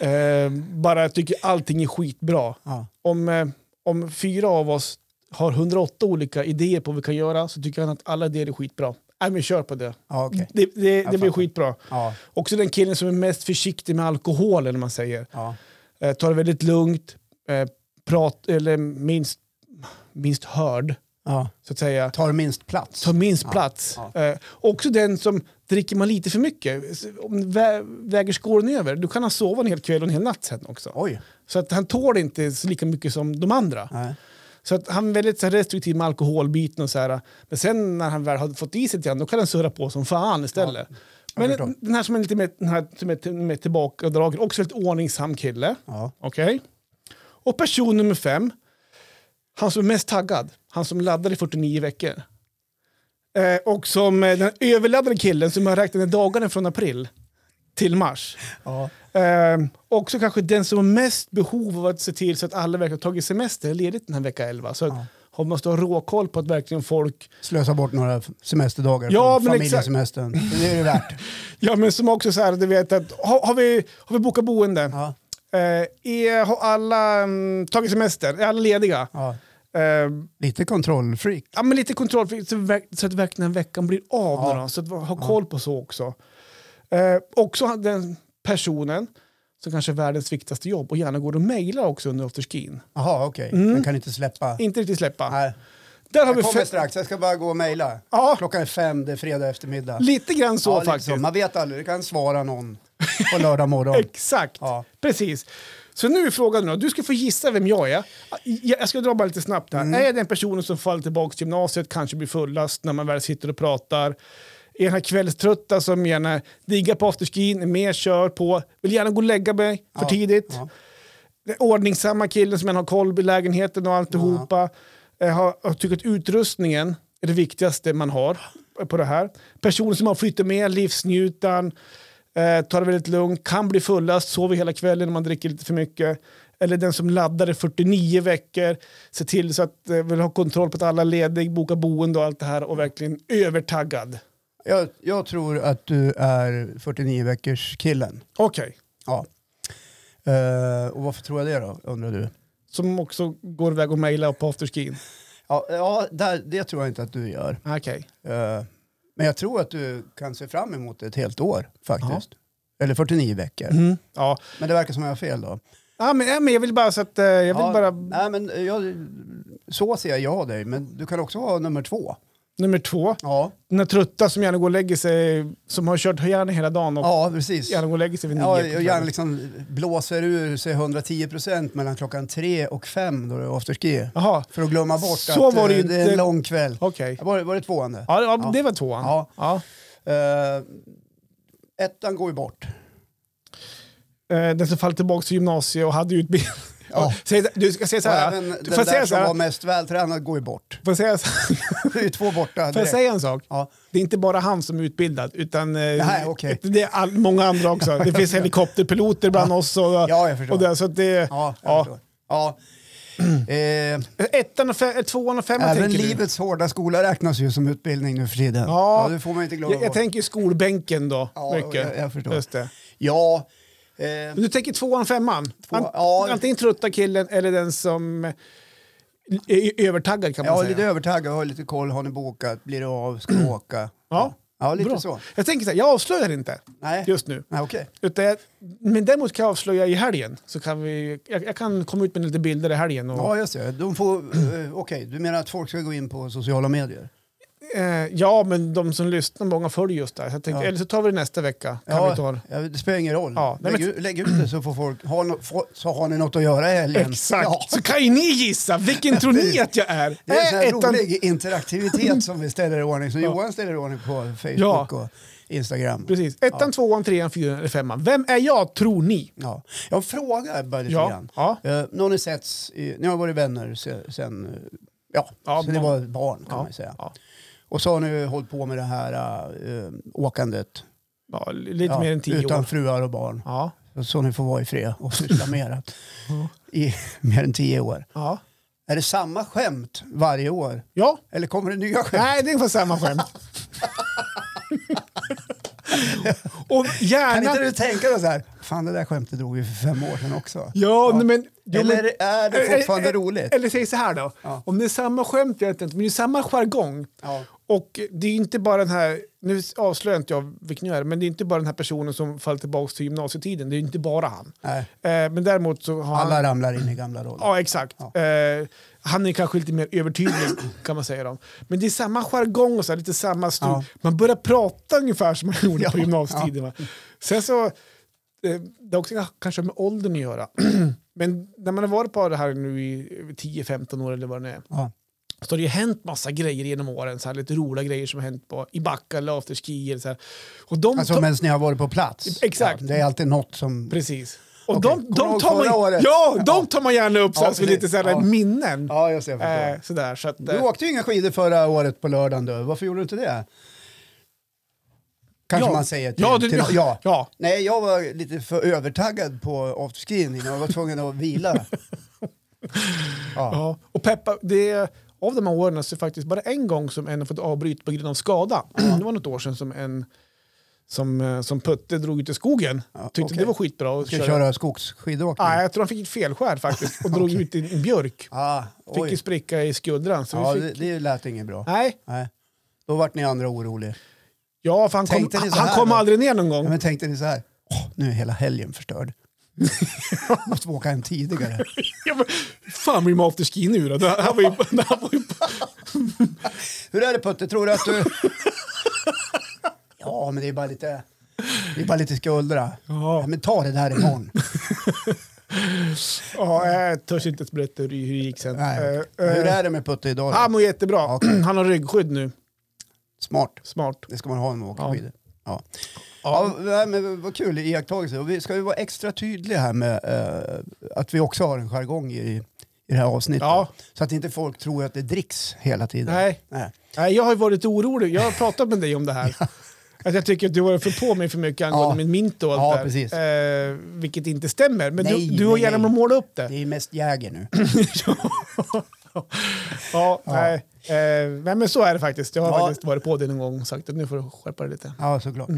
eh, eh, bara tycker allting är skitbra. ja. Om, eh, om fyra av oss har 108 olika idéer på vad vi kan göra så tycker han att alla idéer är skitbra. Nej, men kör på det. ja okej. Det, det, det blir fattar. skitbra. Ja, Också den killen som är mest försiktig med alkoholen, om man säger. ja. Eh, tar det väldigt lugnt, eh, prat, eller minst, minst hörd, ja. så att säga. Tar minst plats. Tar minst plats. ja. Eh, också den som dricker man lite för mycket, s- om vä väger skålen över, då kan han sova en hel kväll och en hel natt sen också. Oj. Så att han tål inte så lika mycket som de andra. Nej. Så att han är väldigt så här, restriktiv med alkoholbiten och så här. Men sen när han väl har fått i sig lite grann, då kan han surra på som fan istället. jag Men förstår. den här som är lite mer, den här som är till- mer tillbakadragen, också väldigt ordningsam kille. Ja. Okej? Och person nummer fem, han som är mest taggad, han som laddar i 49 veckor. Eh, och som eh, den överladdade killen som har räknat ner dagarna från april till mars. Ja. Eh, också kanske den som har mest behov av att se till så att alla verkligen har tagit semester ledigt den här vecka 11. Så Ja. att har man måste ha råkoll på att verkligen folk, Slösa bort några semesterdagar Ja, från men exakt. familjesemestern. Det är det värt. ja men som också så här, du vet att har, har, vi, har vi bokat boende? Ja, Eh, är, har alla mm, tagit semester? Är alla lediga? ja. Eh, Lite kontrollfreak. ja, men lite kontroll för, så, verk- så att verkligen den veckan blir av. Ja. nu Då, så att ha koll på så också. Eh, också han- den personen som kanske är världens viktigaste jobb och gärna går och mejlar också under afterskin. Jaha, okej. Mm. Den kan inte släppa. Inte riktigt släppa. Nej. Där har vi Jag kommer fe- strax, jag ska bara gå och mejla. Ja, Klockan är fem, det är fredag eftermiddag. lite grann så Ja, lite faktiskt. så. Man vet aldrig, det kan svara någon på lördag morgon. Exakt, Ja. precis. Så nu är frågan nu, du ska få gissa vem jag är. Jag jag ska dra bara lite snabbt här. Mm. Är jag den personen som faller tillbaka till gymnasiet, kanske blir fullast när man väl sitter och pratar? Är jag den här kvällströtta som gärna diggar på afterskin, är med, kör på, vill gärna gå och lägga mig för Ja, tidigt? ja. Den ordningsamma killen som gärna har koll på lägenheten och alltihopa. Eh, Har, har tycker att utrustningen är det viktigaste man har på det här. Personer som har flyttat med, livsnjutan, eh, tar det väldigt lugnt, kan bli fullast, sover hela kvällen om man dricker lite för mycket. Eller den som laddar i 49 veckor, ser till så att eh, vill ha kontroll på att alla är ledig, boka boende och allt det här och verkligen övertaggad. Jag, jag tror att du är 49 veckors killen. Okej, Ja. Eh, och varför tror jag det då, undrar du? som också går iväg och mejlar på afterskin. Ja, ja där, det tror jag inte att du gör. Okej, Eh, men jag tror att du kan se fram emot ett helt år faktiskt. Eller 49 veckor. Mm, ja. Men det verkar som att jag har fel då. Ja, men, ja, men jag vill bara så att, eh, jag vill ja, bara Nej, men eh, jag, så ser jag dig, men du kan också vara nummer två. Nummer två, Ja, den här trötta som gärna går och lägger sig, som har kört gärna hela dagen och ja precis. gärna går och lägger sig vid nio. Ja, på och gärna kvällen. liksom blåser ur sig 110 procent mellan klockan tre och fem då det är afterski. Jaha, För att glömma bort Så att eh, var det ju det är inte. en lång kväll. okej. Var, var det tvåan det? Ja, ja, Ja. det var tvåan. Ja. Ja. Eh, ettan går ju bort. Eh, Den som faller tillbaka till gymnasiet och hade utbildning. Ja. Säg- Du ska säga så Och här. även den får jag säga där så som här? var mest vältränad går ju bort. Får jag säga, så- får Det är ju två borta jag direkt. säga en sak? Ja. Det är inte bara han som är utbildad, utan eh, Nej, okej. det är all, många andra också. Det finns helikopterpiloter bland oss. Och, Ja, jag förstår. och det, så att det, Ja, jag Ja. förstår. Ja. Eh, Ettan och fem, tvåan och femman även tänker du? livets hårda skola räknas ju som utbildning nu för tiden. Ja. det får man inte glömma Jag, jag bort. tänker skolbänken då. Ja, mycket. jag- jag förstår. Just det. Ja, eh, Men du tänker tvåan, femman? Ant- ja. Antingen trötta killen eller den som är ö- övertaggad kan man ja säga. lite övertaggad, har lite koll, har ni bokat, blir det av, ska du åka? Ja, ja lite Bra. så. Jag tänker så här, jag avslöjar inte Nej, just nu. Nej okej. Utan jag, men däremot kan jag avslöja i helgen. Så kan vi, jag, jag kan komma ut med lite bilder i helgen. Och, Ja, jag ser. De får, eh, okej, du menar att folk ska gå in på sociala medier? eh, ja, men de som lyssnar, många följer just där. Så jag tänker, Ja. Eller så tar vi det nästa vecka. Kan vi ta det. ja, det spelar ingen roll. Ja, nej, lägg, men- ut- lägg ut det så får folk, har no, få, så har ni något att göra i helgen. Exakt! Ja, Så kan ju ni gissa, vilken tror ni att jag är? det är en sån här Eh, ettan- rolig interaktivitet som vi ställer i ordning, som Johan ställer i ordning på Facebook och Instagram. Precis. Ettan, tvåan, trean, fyran eller femman. Vem är jag, tror ni? Ja. Jag frågar bara lite Ja. grann. ja. Eh, nu har ni setts, i, ni har varit vänner se- sen, eh, ja, Ja, sen ni må- var barn kan ja, man säga. ja. Och så har ni hållit på med det här eh, åkandet. Ja, lite Ja, mer än tio utan år. fruar och barn. Ja. Så ni får vara i fred och syssla med det Ja. i mer än tio år. Ja. Är det samma skämt varje år? ja. Eller kommer det nya skämt? Nej, det är ungefär samma skämt. och Kan gärna... inte du tänka dig så här, fan det där skämtet drog vi för fem år sedan också. Ja, nej, men... Jo, men- Eller är det fortfarande Eh, eh, roligt? Eller säg så här då. Ja. Om det är samma skämt, jag vet inte, men det är samma jargong. Ja. Och det är inte bara den här, nu avslöjar inte jag vilken jag är, men det är inte bara den här personen som faller tillbaka till gymnasietiden. Det är inte bara han. Nej, Eh, men däremot så har han... alla ramlar in i gamla roller. Ja, exakt. Eh, han är kanske lite mer övertydlig kan man säga. Dem. Men det är samma jargong och så här, lite samma stuk. Ja. Man börjar prata ungefär som man gjorde på Ja, gymnasietiden. Va? Sen så, eh, det har också kanske med åldern att göra. Men när man har varit på det här nu i 10-15 år eller vad det är. Ja. Så har det ju hänt massa grejer genom åren. Så här, lite roliga grejer som har hänt på, i Backa eller afterski. Eller så här. Och de Alltså tar- medan ni har varit på plats. Exakt. Ja, det är alltid något som Precis. Och Okej, kommer du de, de, ihåg tar förra man, året? ja, Ja. de tar man gärna upp så Ja, här, så lite precis. så här, Ja. minnen. Ja, just det. Jag förstår. Eh, sådär, så att, Du eh, åkte ju inga skidor förra året på lördagen. Då. Varför gjorde du inte det? Kanske Ja. man säger till... Ja, du- till, ja, ja. Nej, jag var lite för övertaggad på afterskin innan. Jag var tvungen att vila. Ja. ja. Och Peppa, det, är- av de här åren så är det faktiskt bara en gång som en har fått avbryta på grund av skada. Det var något år sedan som en som, eh, som Putte drog ut i skogen. Ja, Tyckte okej. det var skitbra att Ska du köra. köra skogsskidåkning? Nej, jag tror han fick ett felskär faktiskt och drog ut i en björk. Ah, Fick oj. en spricka i skuldran. Så Ja, vi det, fick, det lät inget bra. Nej, Nej. Då vart ni andra oroliga. ja, för han kom, Tänkte ni så han här kom då? aldrig ner någon Ja, gång. men tänkte ni så här, "Åh, nu är hela helgen förstörd. Måste åka hem tidigare. Ja, men, fan blir man afterski nu då? Det här var ju, det här var ju Hur är det Putte, tror du att du... ja, men det är bara lite, det är bara lite skuldra. Ja. Ja, men ta det där imorgon. Ja, jag törs inte ens berätta hur det hur det gick sen. Nej. Eh, Ah, eh, Hur är det med Putte idag han då? mår jättebra. Han har ryggskydd nu. Smart, Smart. det ska man ha när man åker Ja. skidor. Ja. Ja, nej, men vad kul iakttagelse. Och vi ska ju vara extra tydliga här med eh, att vi också har en jargong i, i det här avsnittet. Ja. Så att inte folk tror att det dricks hela tiden. Nej. Nej. Nej, jag har ju varit orolig. Jag har pratat med dig om det här. Att jag tycker att du har fått på mig för mycket angående Ja. min mint och allt Ja, där. precis. Eh, vilket inte stämmer. Men Nej, du, du har nej, gärna nej. målat upp Det det. är mest Jäger nu. Ja, Nej, eh, nej, men så är det faktiskt. Jag har Ja. faktiskt varit på det någon gång och sagt att nu får du skärpa dig lite. Ja, såklart.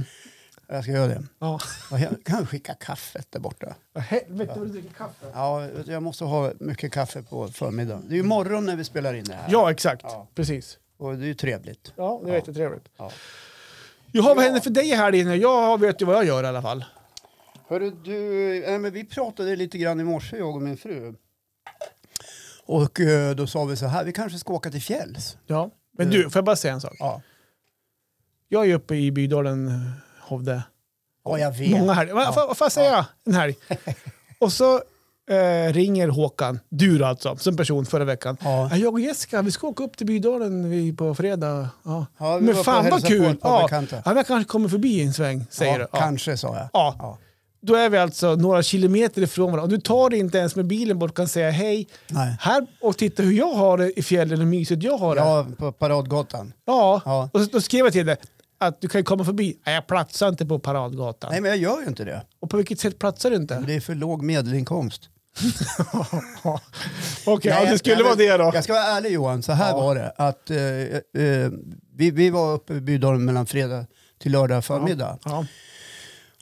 Jag ska göra det. Ja. Vad he- Kan jag skicka kaffet där borta? Vad Helvete vad du dricker kaffe. Ja, jag måste ha mycket kaffe på förmiddagen. Det är ju morgon när vi spelar in det här. Ja, exakt. Ja. Precis. Och det är ju trevligt. Ja, det är Ja. jättetrevligt. Ja. Jaha, vad händer för dig här inne? Jag vet ju vad jag gör i alla fall. Hörru, du, eh, men vi pratade lite grann i morse, jag och min fru. Och eh, då sa vi så här, vi kanske ska åka till fjälls. Ja. Men du, får jag bara säga en sak? Ja. Jag är uppe i Bydalen, Hovde. Ja, jag vet. Många helger. Vad vad- vad får jag säga? En helg. Och så eh, ringer Håkan, du då alltså, som person förra veckan. Ja. Ja. Jag och Jessica, vi ska åka upp till Bydalen vi- på fredag. Ja. Ja, vi Men var på fan vad hälsa på kul! ett par Ja. Ja, bekanta. men jag kanske kommer förbi en sväng, säger du. ja, Ja. Kanske, sa jag. Ja. Ja. Då är vi alltså några kilometer ifrån varandra. Och du tar dig inte ens med bilen bort och kan säga hej. Nej. Här och titta hur jag har det i fjällen och mysigt jag har det. Ja, på Paradgatan. Ja, Ja. och så- då skrev jag till dig att du kan ju komma förbi. Nej, jag platsar inte på Paradgatan. Nej, men jag gör ju inte det. Och på vilket sätt platsar du inte? Det är för låg medelinkomst. Okej, ja, det skulle vara det då. Jag ska vara ärlig Johan, så här var det. Att, eh, eh, vi, vi var uppe i Bydalen mellan fredag till lördag förmiddag. Ja.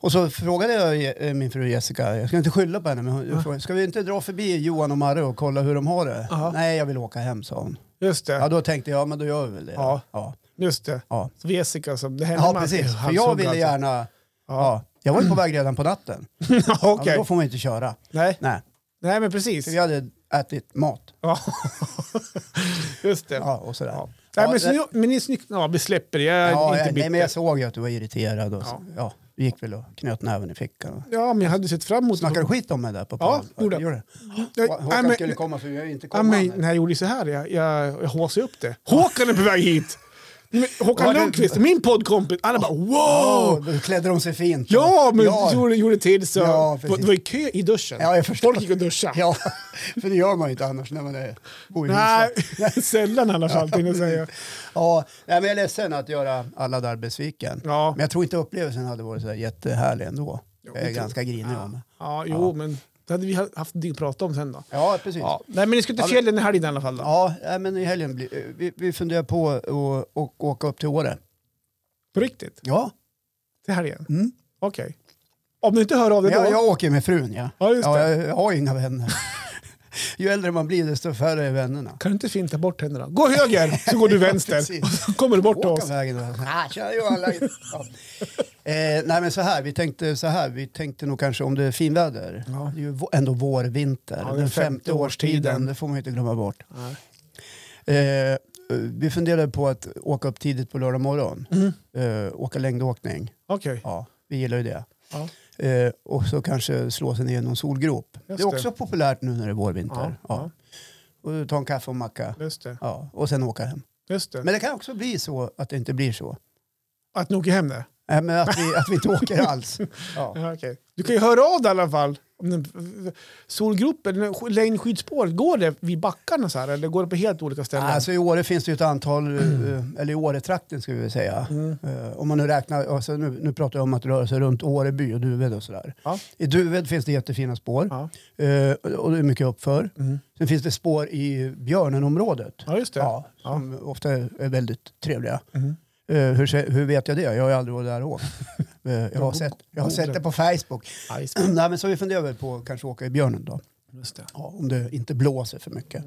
Och så frågade jag Je- eh, min fru Jessica, jag ska inte skylla på henne, men hon, jag frågade, ska vi inte dra förbi Johan och Marre och kolla hur de har det? Ja. Nej, jag vill åka hem, sa hon. Just det. Ja, då tänkte jag, men då gör vi väl det. Ja. ja. Just det. ja. Så Jessica som... Det händer ja man- precis. För jag halshugga ville alltså. gärna... Ja. Jag var ju på väg redan på natten. Ja, Ja, Okej. men då får man ju inte köra. Nej. Nej, Nej, men precis. för vi hade ätit mat. Ja. Just det. Ja, och sådär. Ja. Nej, men, det- så, men ni är snygg... Ja, vi släpper det. Jag är Ja, inte jag, nej, men jag bitter. såg ju att du var irriterad och Ja. så, ja, vi gick väl och knöt näven i fickan. Och Ja, men jag hade sett fram emot... snackade skit om mig där på Ja, podden. gjorde jag. Gjorde det. Nej, Hå- nej, Håkan men- skulle komma för vi har ju inte Ja, kommit. men, än. när jag gjorde så här, jag, jag, jag håsade upp det. Håkan är på väg hit! Men Håkan Var det- Lundqvist, min poddkompis, alla bara wow! Åh, då klädde de sig fint. Ja, men ja. gjorde, gjorde till så. Ja, precis. det var ju kö i duschen. Ja, jag förstår. Folk gick och duschade. Ja, för det gör man ju inte annars när man är, bor i Nej, huset. sällan i alla fall, tänkte jag säga. Ja, nej, men jag är ledsen att göra alla där besviken. Ja. Men jag tror inte upplevelsen hade varit så där jättehärlig ändå. jag är det tror ganska grinig om det. Ja, jo, men det hade vi haft det att prata om sen då. Ja, precis. Ja. Nej, men ni ska till Ja, men- fjällen i helgen i alla fall då? Ja, nej, men i helgen blir, vi, vi funderar på att att åka upp till Åre. På riktigt? Ja, Till helgen? Mm. Okej. Om du inte hör av dig jag, då? jag åker med frun ja. Ja, just ja det. jag, jag har ju inga vänner. Ju äldre man blir desto färre är vännerna. Kan du inte finta bort henne då? Gå höger så går du vänster. precis. och så kommer du bort till Åka oss. vägen och ah, kör ju alla. Ja. Eh, nej men så här, vi tänkte så här, vi tänkte nog kanske om det är finväder. Ja. Det är ju vå- ändå vår, vinter, Ja, den femte årstiden, det får man ju inte glömma bort. Nej. Eh, vi funderade på att åka upp tidigt på lördag morgon, Mm. eh, åka längdåkning. Okej. Ja, vi gillar ju det. Ja. Eh, och så kanske slå sig ner i någon solgrop. det det. är också populärt nu när det är Ja, vårvinter. Ja. ja. Och ta en kaffe och macka. Just det. Ja, och sen åka hem. Just det. Men det kan också bli så att det inte blir så. Att ni åker hem där? Nej, men att vi, att vi inte åker alls. Ja. Ja, okej. Du kan ju höra av dig i alla fall. om den, solgropen, längdskidspåret, går det vid backarna så här eller går det på helt olika ställen? Alltså I Åre finns det ju ett antal, eh, eller i Åretrakten ska vi väl säga. Mm. Eh, Om man nu räknar, alltså nu, nu pratar jag om att röra sig runt Åreby och Duved och sådär. ja. I Duved finns det jättefina spår Ja. eh, och det är mycket uppför. Mm. Sen finns det spår i Björnenområdet. ja, just det. Ja, Ja. som ofta är väldigt trevliga. Mm. Eh, hur, se- hur vet jag det? Jag har ju aldrig varit där och åkt. Eh, jag, har sett, jag har sett det på Facebook. Ja, just Nej, men så vi funderar väl på att kanske åka i björnen då. just det. Ja, om det inte blåser för mycket.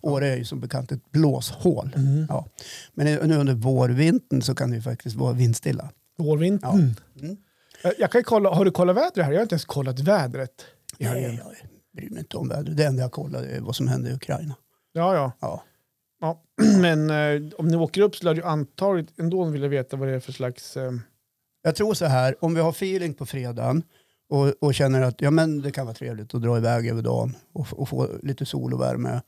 Åre är ju som bekant ett blåshål. Ja. Men nu nu under vårvintern så kan det ju faktiskt vara vindstilla. Ja. Vårvintern. Mm. Eh, Jag kan ju kolla, har du kollat vädret här? Jag har inte ens kollat vädret. i helgen. Nej, jag bryr mig inte om vädret. Det enda jag kollar är vad som händer i Ukraina. Ja, ja. Ja. ja. Men eh, om ni åker upp så lär du antagligen ändå vilja veta vad det är för slags... Eh, Jag tror så här, om vi har feeling på fredagen och, och känner att ja, men det kan vara trevligt att dra iväg över dagen och, f- och få lite sol och värme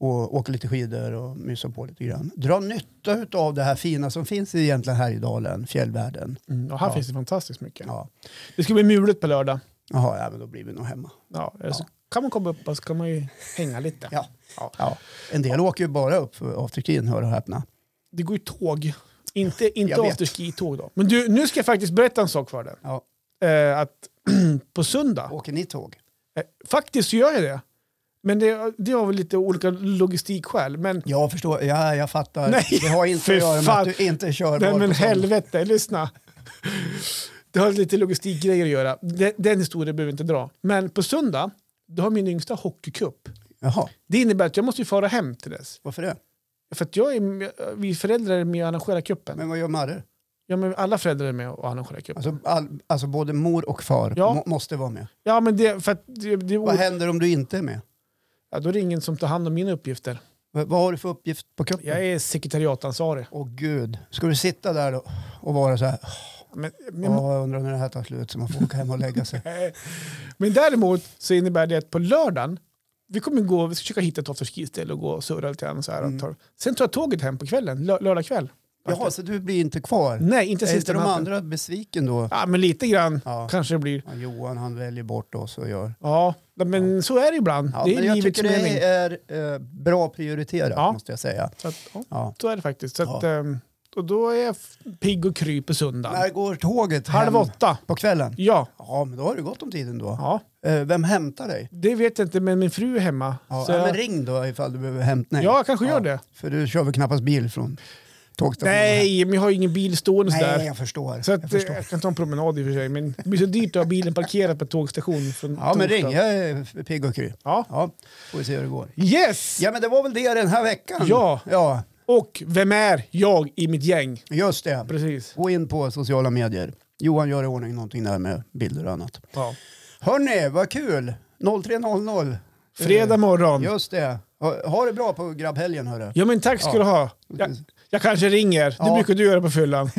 och åka lite skidor och mysa på lite grann. Dra nytta av det här fina som finns i egentligen Härjedalen, fjällvärlden. mm, och här Ja. finns det fantastiskt mycket. Ja. Det ska bli mulet på lördag. Jaha, ja, men då blir vi nog hemma. Ja, eller Så kan man komma upp och så kan man ju hänga lite. Ja. Ja. En del åker ju bara upp för afterkin, hör och häpna. Det går ju tåg. Inte, inte Jag vet. afterski-tåg då. Men du, nu ska jag faktiskt berätta en sak för dig. Ja. Eh, att på söndag, Åker ni tåg? eh, faktiskt så gör jag det. Men det, det har väl lite olika logistikskäl. Men, Jag förstår, ja, jag fattar. Nej, det har inte för att göra med fan. att du inte kör nej, val men på söndag. helvete, lyssna. Det har lite logistikgrejer att göra. Den, den historien behöver vi inte dra. Men på söndag, då har min yngsta hockeycup. Jaha, Det innebär att jag måste ju fara hem till dess. varför det? För att jag är, med- vi föräldrar är med och arrangerar cupen. Men vad gör Marre? Ja, men alla föräldrar är med och arrangerar cupen. Alltså, all, alltså både mor och far Ja. må, måste vara med. Ja, men det, för att det, det, Vad händer om du inte är med? ja, då är det ingen som tar hand om mina uppgifter. V- vad har du för uppgift på Jag kuppen? är sekretariatansvarig. Åh gud, ska du sitta där då och vara så här? Men, men, Åh, jag undrar när det här tar slut så man får åka hem och lägga sig. men däremot så innebär det att på lördagen, vi kommer gå, vi ska försöka hitta ett afterski-ställe och gå och surra lite grann. Så här, och tar, sen tar jag tåget hem på kvällen, lö, lördag kväll. Mm. Jaha, så du blir inte kvar? Nej, inte Är sista inte de natten. andra besviken då? Ja, men lite grann Ja. kanske det blir. Ja, Johan han väljer bort oss och gör. Ja, men så är det ibland. Ja, det är men jag livets tycker mening. det är eh, bra prioriterat Ja. måste jag säga. Så, att, ja, Ja. så är det faktiskt. Så att, Ja. ehm, och då är jag f- pigg och kry på När söndagen. går tåget Halv hem? åtta. På kvällen? Ja. Ja, men då har du gott om tiden då. ja. Eh, vem hämtar dig? Det vet jag inte, men min fru är hemma. Ja, så ja, jag- men ring då ifall du behöver hämtning. Ja, jag kanske gör det. För du kör väl knappast bil från tågstationen? Nej, men jag har ju ingen bil stående Nej, där. jag förstår. Så att, jag jag, förstår. jag kan ta en promenad i och för sig, men det blir så dyrt att ha bilen parkerad på tågstation. Från Ja, men torsdag. ring. Jag är pigg och kry. Ja. Ja, får vi se hur det går. Yes! Ja, men det var väl det den här veckan. Ja. ja Och vem är jag i mitt gäng? just det. Precis. Gå in på sociala medier. Johan gör i ordning någonting där med bilder och annat. Ja. Hörni, vad kul! 03.00. Fredag morgon. Just det. Ha, ha det bra på grabbhelgen, hörru. Ja, men tack ska du ha. Jag, jag kanske ringer. Det Ja. brukar du göra på fyllan.